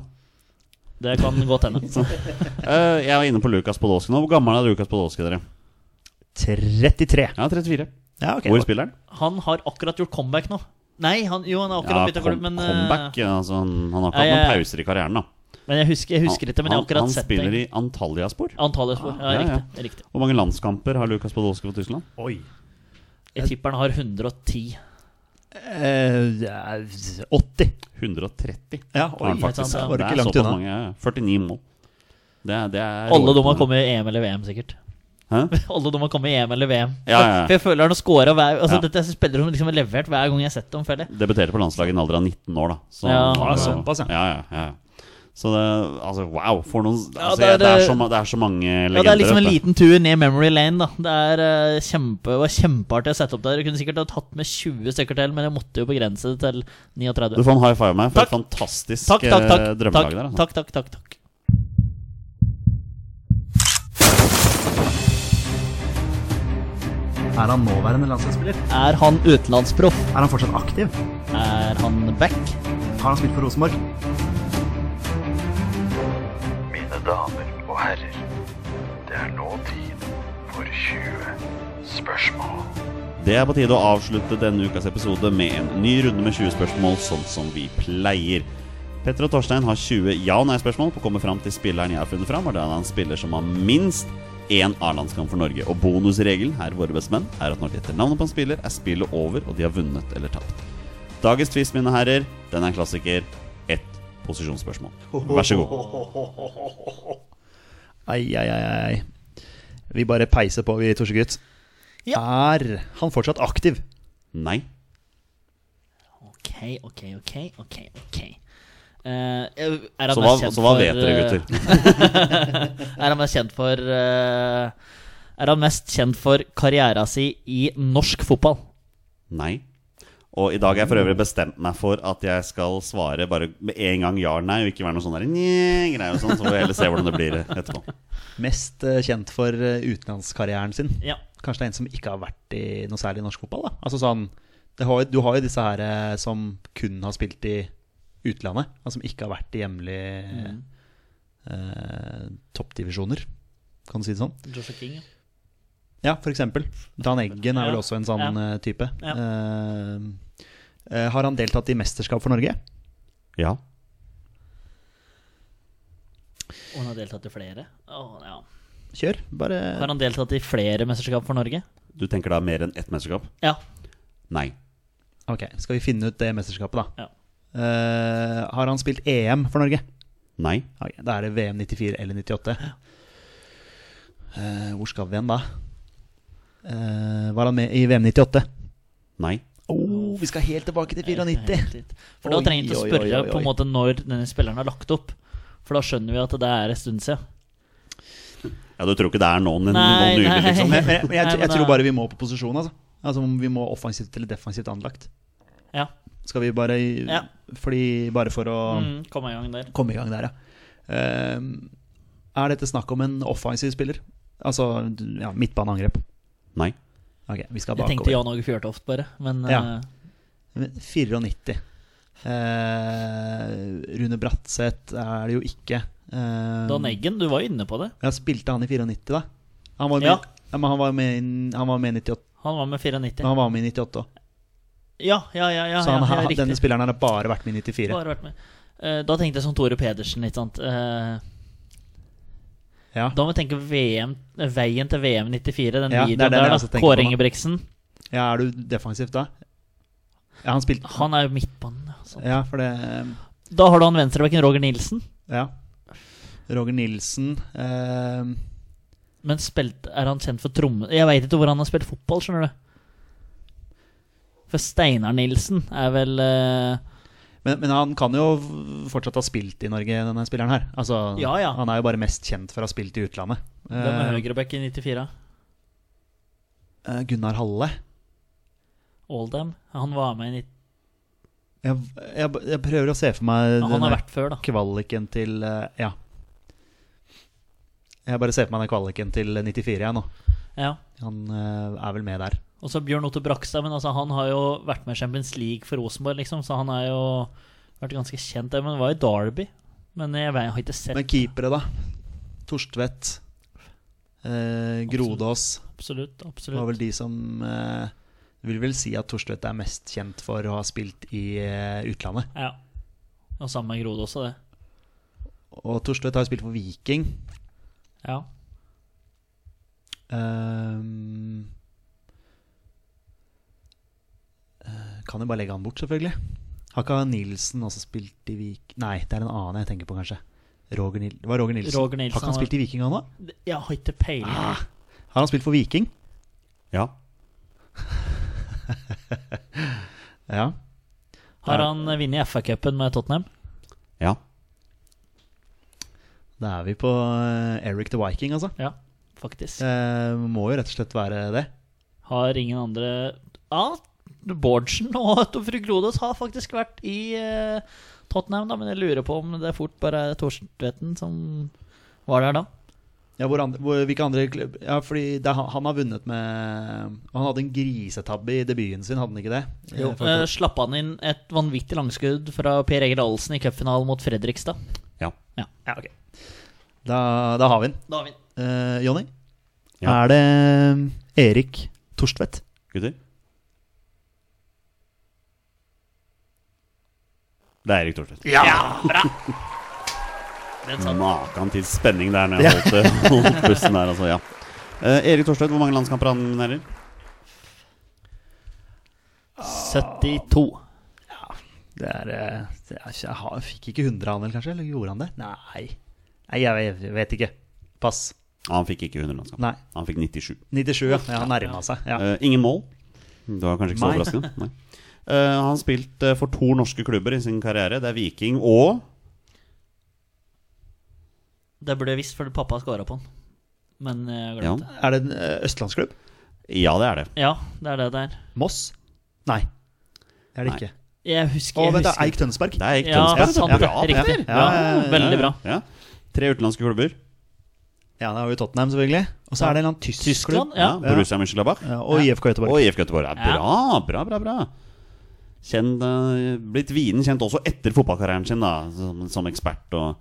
Speaker 3: Det kan godt hende.
Speaker 1: Eh, jeg var inne på Lukas Podolsky nå. Hvor gammel er Lukas Podolsky, dere?
Speaker 2: 33.
Speaker 1: Ja, 34.
Speaker 2: Ja, ok.
Speaker 1: Hvor spiller han?
Speaker 3: Han har akkurat gjort comeback nå. Nei, han, jo, han har akkurat
Speaker 1: Ja,
Speaker 3: bytta
Speaker 1: kom,
Speaker 3: klubb, men, eh,
Speaker 1: comeback. ja, Altså, han, han har ikke
Speaker 3: Nei,
Speaker 1: hatt noen
Speaker 3: jeg-
Speaker 1: pauser i karrieren, da.
Speaker 3: men jeg husker, jeg husker ikke, men jeg har
Speaker 1: han,
Speaker 3: akkurat
Speaker 1: han
Speaker 3: sett
Speaker 1: spiller
Speaker 3: det.
Speaker 1: i Antalyaspor.
Speaker 3: Antalyaspor.
Speaker 1: Ja,
Speaker 3: Ja,
Speaker 1: Ah. ja.
Speaker 3: riktig. riktig.
Speaker 1: Hvor mange landskamper har Lukas Podolsky for Tyskland?
Speaker 2: Oi.
Speaker 3: Jeg tipper han har 110.
Speaker 2: Eh, det er 80.
Speaker 1: 130.
Speaker 2: Ja,
Speaker 1: har
Speaker 2: oi.
Speaker 1: han faktisk.
Speaker 3: sant, ja.
Speaker 2: Var
Speaker 1: Det
Speaker 2: ikke
Speaker 1: er
Speaker 2: langt
Speaker 1: såpass
Speaker 2: unna.
Speaker 1: mange. ja, ja. 49 mål. Det er, det er
Speaker 3: Alle de har
Speaker 1: råtende.
Speaker 3: kommet i EM eller VM, sikkert.
Speaker 1: Hæ?
Speaker 3: Alle de har kommet i EM eller VM.
Speaker 1: Ja, ja, ja.
Speaker 3: For jeg føler han har scora hver Altså,
Speaker 1: Ja.
Speaker 3: Dette er spillere som liksom har levert hver gang jeg har sett dem, føler jeg.
Speaker 1: Debuterte på landslaget i en alder av 19 år, da. Så,
Speaker 3: Ja.
Speaker 2: Ja, såpass, ja.
Speaker 1: ja. ja, ja, Så det Altså, wow! For noen
Speaker 3: Ja,
Speaker 1: altså,
Speaker 3: det er-
Speaker 1: jeg- det, er så, ma- det er så mange legender.
Speaker 3: Ja, det er liksom en
Speaker 1: vet du.
Speaker 3: liten tur ned memory lane, da. Det er eh, kjempe, var kjempeartig å sette opp der. Jeg kunne sikkert ha tatt med 20 stykker til, men jeg måtte jo begrense det til
Speaker 1: Du
Speaker 3: 39.
Speaker 1: får en high five av meg for
Speaker 3: Takk.
Speaker 1: et fantastisk
Speaker 3: Takk, takk, takk.
Speaker 1: eh,
Speaker 3: Takk,
Speaker 1: drømmelag der. Altså.
Speaker 3: takk, takk, takk, takk.
Speaker 2: Er han nåværende landslagsspiller?
Speaker 3: Er han utenlandsproff?
Speaker 2: Er han fortsatt aktiv?
Speaker 3: Er han back?
Speaker 2: Har han spilt for Rosenborg?
Speaker 5: Mine damer og herrer, det er nå tid for 20 spørsmål.
Speaker 1: Det er på tide å avslutte denne ukas episode med en ny runde med 20 spørsmål, sånn som vi pleier. Petter og Torstein har 20 ja- og nei-spørsmål på å komme fram til spilleren jeg har funnet fram, og det er en spiller som har minst én A-landskamp for Norge. Og bonusregelen her, våre bestemenn, er at når de etter navnet på en spiller, er spillet over, og de har vunnet eller tapt. Dagens twist, mine herrer, den er en klassiker. Ett posisjonsspørsmål. Vær så god.
Speaker 2: Ai, ai, ai, ai. Vi bare peiser på, vi, Torsegutt. Er han fortsatt aktiv?
Speaker 1: Nei.
Speaker 3: Ok, ok, ok, ok. ok Eh, er han
Speaker 1: Så
Speaker 3: mest
Speaker 1: hva,
Speaker 3: kjent
Speaker 1: så hva
Speaker 3: for,
Speaker 1: vet dere,
Speaker 3: eh,
Speaker 1: gutter?
Speaker 3: Er han mest kjent for eh, Er han mest kjent for karriera si i norsk fotball?
Speaker 1: Nei. Og i dag har jeg for øvrig bestemt meg for at jeg skal svare bare med en gang ja eller nei, og ikke være noe sånn der «Nje», greier og sånn, så får vi heller se hvordan det blir etterpå.
Speaker 2: Mest eh, kjent for eh, utenlandskarrieren sin.
Speaker 3: Ja.
Speaker 2: Kanskje det er en som ikke har vært i noe særlig i norsk fotball? da Altså sånn, det har, jo- Du har jo disse her eh, som kun har spilt i utlandet, og som ikke har vært i hjemlige
Speaker 3: Mm.
Speaker 2: eh, toppdivisjoner, kan du si det sånn?
Speaker 3: Joshua King, ja.
Speaker 2: Ja, for eksempel. Dan Eggen er
Speaker 3: Ja,
Speaker 2: vel også en sånn eh, type.
Speaker 3: ja.
Speaker 2: Eh, eh, har han deltatt i mesterskap for Norge?
Speaker 1: Ja.
Speaker 3: Og han har deltatt i flere. Å, ja.
Speaker 2: Kjør. Bare
Speaker 3: Har han deltatt i flere mesterskap for Norge?
Speaker 1: Du tenker da mer enn ett mesterskap?
Speaker 3: Ja.
Speaker 1: Nei.
Speaker 2: Ok, skal vi finne ut det mesterskapet, da.
Speaker 3: Ja.
Speaker 2: Eh, har han spilt EM for Norge?
Speaker 1: Nei.
Speaker 2: Ok, da er det VM 94 eller 98. Eh, hvor skal vi igjen, da? Eh, var han med i VM 98?
Speaker 1: Nei.
Speaker 2: Oh, vi skal helt tilbake til 94!
Speaker 3: For da
Speaker 2: Oi,
Speaker 3: trenger vi ikke å
Speaker 2: oi, oi,
Speaker 3: spørre
Speaker 2: oi,
Speaker 3: på en
Speaker 2: oi.
Speaker 3: måte når denne spilleren har lagt opp. For da skjønner vi at det er en stund siden.
Speaker 1: Ja, du tror ikke det er noen,
Speaker 3: Nei,
Speaker 1: noen nylig,
Speaker 3: nei.
Speaker 1: liksom?
Speaker 2: Men, men, jeg,
Speaker 3: Nei,
Speaker 2: jeg,
Speaker 3: men eh,
Speaker 2: jeg
Speaker 3: da-
Speaker 2: tror bare vi må på posisjon, altså. Altså om vi må offensivt eller defensivt anlagt.
Speaker 3: Ja.
Speaker 2: Skal vi bare
Speaker 3: Ja.
Speaker 2: Fordi bare for å
Speaker 3: Mm, kom i gang der.
Speaker 2: komme i gang der, ja. Eh, er dette snakk om en offensiv spiller? Altså ja, midtbaneangrep.
Speaker 1: Nei.
Speaker 2: Ok, vi skal
Speaker 3: Jeg
Speaker 2: bakover.
Speaker 3: tenkte Jan Åge Fjørtoft, bare. Men
Speaker 2: Ja.
Speaker 3: eh,
Speaker 2: 94. Eh, Rune Bratseth er det jo ikke. Eh,
Speaker 3: Dan Eggen, du var jo inne på det.
Speaker 2: Ja, spilte han i 94, da? Han var jo
Speaker 3: Ja.
Speaker 2: med, ja, men han var med, i- han var med, i 98,
Speaker 3: Han var med 94.
Speaker 2: han var med i 98 òg.
Speaker 3: Ja, ja, ja. ja,
Speaker 2: Så han,
Speaker 3: ja, ja
Speaker 2: har-
Speaker 3: riktig.
Speaker 2: denne spilleren her har bare vært med i 94.
Speaker 3: Bare vært med. Eh, da tenkte jeg som Tore Pedersen, ikke sant. Eh,
Speaker 2: Ja.
Speaker 3: da må vi tenke VM, eh, veien til VM 94, den
Speaker 2: Ja, det er
Speaker 3: videoen
Speaker 2: den jeg
Speaker 3: der.
Speaker 2: også
Speaker 3: da
Speaker 2: tenker på
Speaker 3: Kåre
Speaker 2: nå.
Speaker 3: Ingebrigtsen.
Speaker 2: ja, er du defensivt da? Ja, han spilte
Speaker 3: Han er jo midtbanen. ja, sånn.
Speaker 2: Ja, for det eh,
Speaker 3: Da har du han venstrebekken Roger Nilsen.
Speaker 2: Ja. Roger Nilsen eh,
Speaker 3: Men spilt, er han kjent for tromme... Jeg veit ikke hvor han har spilt fotball, skjønner du. For Steinar Nilsen er vel eh,
Speaker 2: men, men han kan jo fortsatt ha spilt i Norge, denne spilleren her. Altså,
Speaker 3: Ja, ja.
Speaker 2: Han er jo bare mest kjent for å ha spilt i utlandet.
Speaker 3: Hvem
Speaker 2: Eh,
Speaker 3: er høyreback i 94?
Speaker 2: Eh, Gunnar Halle.
Speaker 3: Oldham? Han var med i 90...
Speaker 2: Jeg, jeg, jeg prøver å se for meg
Speaker 3: Han
Speaker 2: denne
Speaker 3: har vært før, da.
Speaker 2: kvaliken til eh, Ja. Jeg bare ser for meg den kvaliken til 94 jeg nå.
Speaker 3: Ja.
Speaker 2: Han eh, er vel med der.
Speaker 3: Og så Bjørn Otto Brakstad, men altså, han har jo vært med i Champions League for Rosenborg, liksom, så han har jo vært ganske kjent der. Men det var jo Derby. Men jeg, vet, jeg har ikke sett
Speaker 2: Men keepere, da? Torstvedt. Eh, Grodås
Speaker 3: Absolutt.
Speaker 2: var
Speaker 3: absolutt
Speaker 2: vel de som eh, vil vel si at Torstvedt er mest kjent for å ha spilt i eh, utlandet.
Speaker 3: Ja. Og sammen med Grode også, det.
Speaker 2: Og Torstvedt har jo spilt for Viking.
Speaker 3: Ja.
Speaker 2: Ehm, eh, kan jo bare legge han bort, selvfølgelig. Har ikke Nilsen også spilt i Vik... Nei, det er en annen jeg tenker på, kanskje. Roger Nil det var Roger Nilsen.
Speaker 3: Roger
Speaker 2: har ikke
Speaker 3: Nilsen,
Speaker 2: han
Speaker 3: han var-
Speaker 2: spilt i Viking, han òg?
Speaker 3: Jeg har ikke peiling.
Speaker 2: Ah, Har han spilt for Viking?
Speaker 1: Ja.
Speaker 2: Ja.
Speaker 3: Har han eh, vunnet FA-cupen med Tottenham?
Speaker 1: Ja.
Speaker 2: Da er vi på eh, Eric the Viking, altså.
Speaker 3: Ja, faktisk.
Speaker 2: Eh, må jo rett og slett være det.
Speaker 3: Har ingen andre Ja, Bårdsen og fru Grodes har faktisk vært i eh, Tottenham, da, men jeg lurer på om det fort bare er Thorstvedten som var der da.
Speaker 2: Ja, hvor andre, hvor, hvilke andre klubb Ja, fordi det, er han, han har vunnet med og Han hadde en grisetabbe i debuten sin, hadde han ikke det?
Speaker 3: Jo,
Speaker 2: Eh, for-
Speaker 3: eh, slapp han inn et vanvittig langskudd fra Per Egil Ahlsen i cupfinalen mot Fredrikstad?
Speaker 1: Ja.
Speaker 3: Ja, ja ok.
Speaker 2: Da, da har vi den.
Speaker 3: Da har vi den.
Speaker 2: Eh, Jonny?
Speaker 1: Ja.
Speaker 2: Er det eh, Erik Torstvedt?
Speaker 1: Gutter? Det er Erik Thorstvedt.
Speaker 3: Ja, bra! Den satt.
Speaker 1: Maken til spenning der når jeg holdt, holdt bussen der, altså. Ja. Eh, Erik Thorstvedt, hvor mange landskamper han nærer?
Speaker 3: 72.
Speaker 2: Det er, eh, det er ikke- Jeg har- fikk ikke 100 han vel, kanskje? Eller gjorde han det? Nei. Nei, jeg jeg vet ikke. Pass.
Speaker 1: Ah, han fikk ikke 100 landskamper.
Speaker 2: Nei.
Speaker 1: Han fikk 97.
Speaker 2: 97, ja. ja han nærma seg. Ja.
Speaker 1: Eh, ingen mål. Det var kanskje ikke så
Speaker 2: Nei.
Speaker 1: overraskende. Nei. Eh, han spilte for to norske klubber i sin karriere. Det er Viking og
Speaker 3: Det burde jeg visst, fordi pappa skåra på den. Men jeg
Speaker 1: ja.
Speaker 3: glemte det.
Speaker 2: Er det en eh, østlandsklubb?
Speaker 1: ja, det er det.
Speaker 3: Ja, det er det det er.
Speaker 2: Moss? Nei. Det er det
Speaker 1: Nei.
Speaker 2: ikke.
Speaker 3: Jeg husker,
Speaker 2: Å,
Speaker 3: jeg
Speaker 2: vent, det er
Speaker 3: husker.
Speaker 2: Eik Tønsberg.
Speaker 1: Det er Eik
Speaker 3: Ja,
Speaker 1: Tønsberg.
Speaker 3: sant,
Speaker 1: Ja, bra,
Speaker 3: riktig.
Speaker 1: Petter.
Speaker 3: Ja,
Speaker 2: Ja, ja, ja.
Speaker 3: veldig bra.
Speaker 1: Ja. Tre utenlandske klubber.
Speaker 2: Ja, det er jo Tottenham, selvfølgelig. Og så er det en eller annen tysk
Speaker 3: Tyskland,
Speaker 2: klubb.
Speaker 1: Ja.
Speaker 3: ja.
Speaker 1: Borussia Mönchengladbach.
Speaker 2: Ja, og IFK Göteborg.
Speaker 1: Og IFK Göteborg. Ja, bra, bra, bra. bra Kjent, eh, Blitt vinen kjent også etter fotballkarrieren sin, da som, som ekspert. Og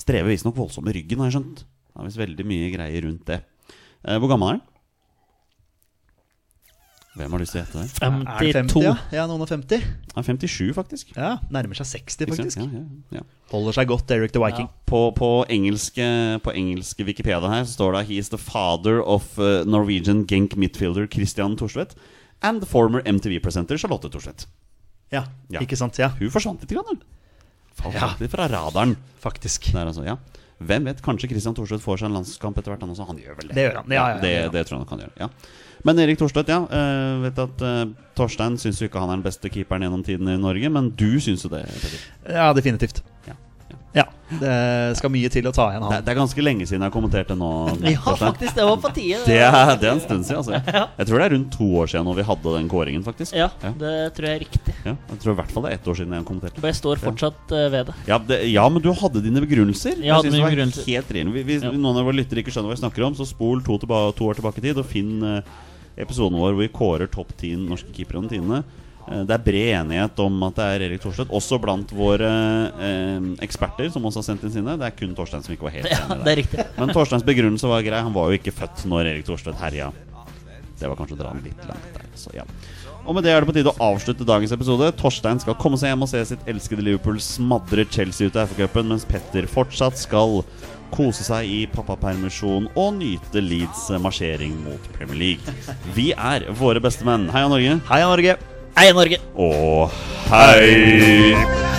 Speaker 1: strever visstnok voldsomt med ryggen, har jeg skjønt. Det er visst veldig mye greier rundt det. Eh, hvor gammel er han? Hvem har lyst til å gjette det?
Speaker 2: Er det
Speaker 3: 52.
Speaker 2: 50, ja? ja, noen og 50.
Speaker 1: Han er 57, faktisk.
Speaker 2: Ja, Nærmer seg 60,
Speaker 1: Ikke sant?
Speaker 2: faktisk.
Speaker 1: Ja, ja, ja.
Speaker 2: Holder seg godt, Eric the Viking.
Speaker 1: På, på, engelske, på engelske Wikipedia her så står det He is the father of eh, Norwegian Genk midfielder Christian Thorstvedt and the former MTV-presenter Charlotte Thorstvedt.
Speaker 2: Ja.
Speaker 1: Ja.
Speaker 2: ikke sant? Ja,
Speaker 1: Hun forsvant litt, grann, hun. Falt
Speaker 2: Ja.
Speaker 1: litt fra radaren.
Speaker 2: faktisk.
Speaker 1: Der, altså, ja. Hvem vet, kanskje Christian Thorstvedt får seg en landskamp etter hvert, han også. Han gjør vel det.
Speaker 2: Det gjør han, ja, ja, ja,
Speaker 1: det,
Speaker 2: det gjør han.
Speaker 1: det tror jeg nok han gjør. Ja. Men Erik Thorstvedt, ja. eh, vet at eh, Torstein syns jo ikke han er den beste keeperen gjennom tiden i Norge, men du syns jo det. Petter.
Speaker 2: Ja, definitivt.
Speaker 1: Ja.
Speaker 2: Ja, det skal mye til å ta igjen
Speaker 1: Det,
Speaker 2: han.
Speaker 1: det er ganske lenge siden jeg har kommentert det nå.
Speaker 3: Ja,
Speaker 1: Torstein.
Speaker 3: faktisk. Det var på tide.
Speaker 1: Det er, det er en stund siden, altså. Jeg tror det er rundt to år siden når vi hadde den kåringen, faktisk.
Speaker 3: Ja,
Speaker 1: Ja.
Speaker 3: det tror jeg er riktig.
Speaker 1: Ja, jeg tror i hvert fall det er ett år siden jeg kommenterte.
Speaker 3: For jeg står fortsatt eh, ved det.
Speaker 1: Ja, det, ja, men du hadde dine begrunnelser.
Speaker 3: Jeg hadde
Speaker 1: synes det
Speaker 3: mine
Speaker 1: var
Speaker 3: begrunnelser.
Speaker 1: Helt rimelig. vi, hvis
Speaker 3: Ja.
Speaker 1: noen av våre lyttere ikke skjønner hva vi snakker om, så spol to, tilba to år tilbake i tid og finn eh, episoden vår hvor vi kårer topp ti norske keepere gjennom tidene. Eh, Det er bred enighet om at det er Erik Thorstvedt, også blant våre eh, eksperter som også har sendt inn sine. Det er kun Torstein som ikke var helt
Speaker 3: Ja,
Speaker 1: enig
Speaker 3: det
Speaker 1: der.
Speaker 3: er riktig.
Speaker 1: Men Torsteins begrunnelse var grei. Han var jo ikke født når Erik Thorstvedt herja. Det var kanskje å dra den litt langt der. Så ja. Og med det er det på tide å avslutte dagens episode. Torstein skal komme seg hjem og se sitt elskede Liverpool smadre Chelsea ut av FA-cupen, mens Petter fortsatt skal kose seg i pappapermisjon og nyte Leeds marsjering mot Premier League. Vi er våre beste menn. Heia Norge,
Speaker 2: Heia Norge!
Speaker 3: Heia Norge!
Speaker 1: og hei!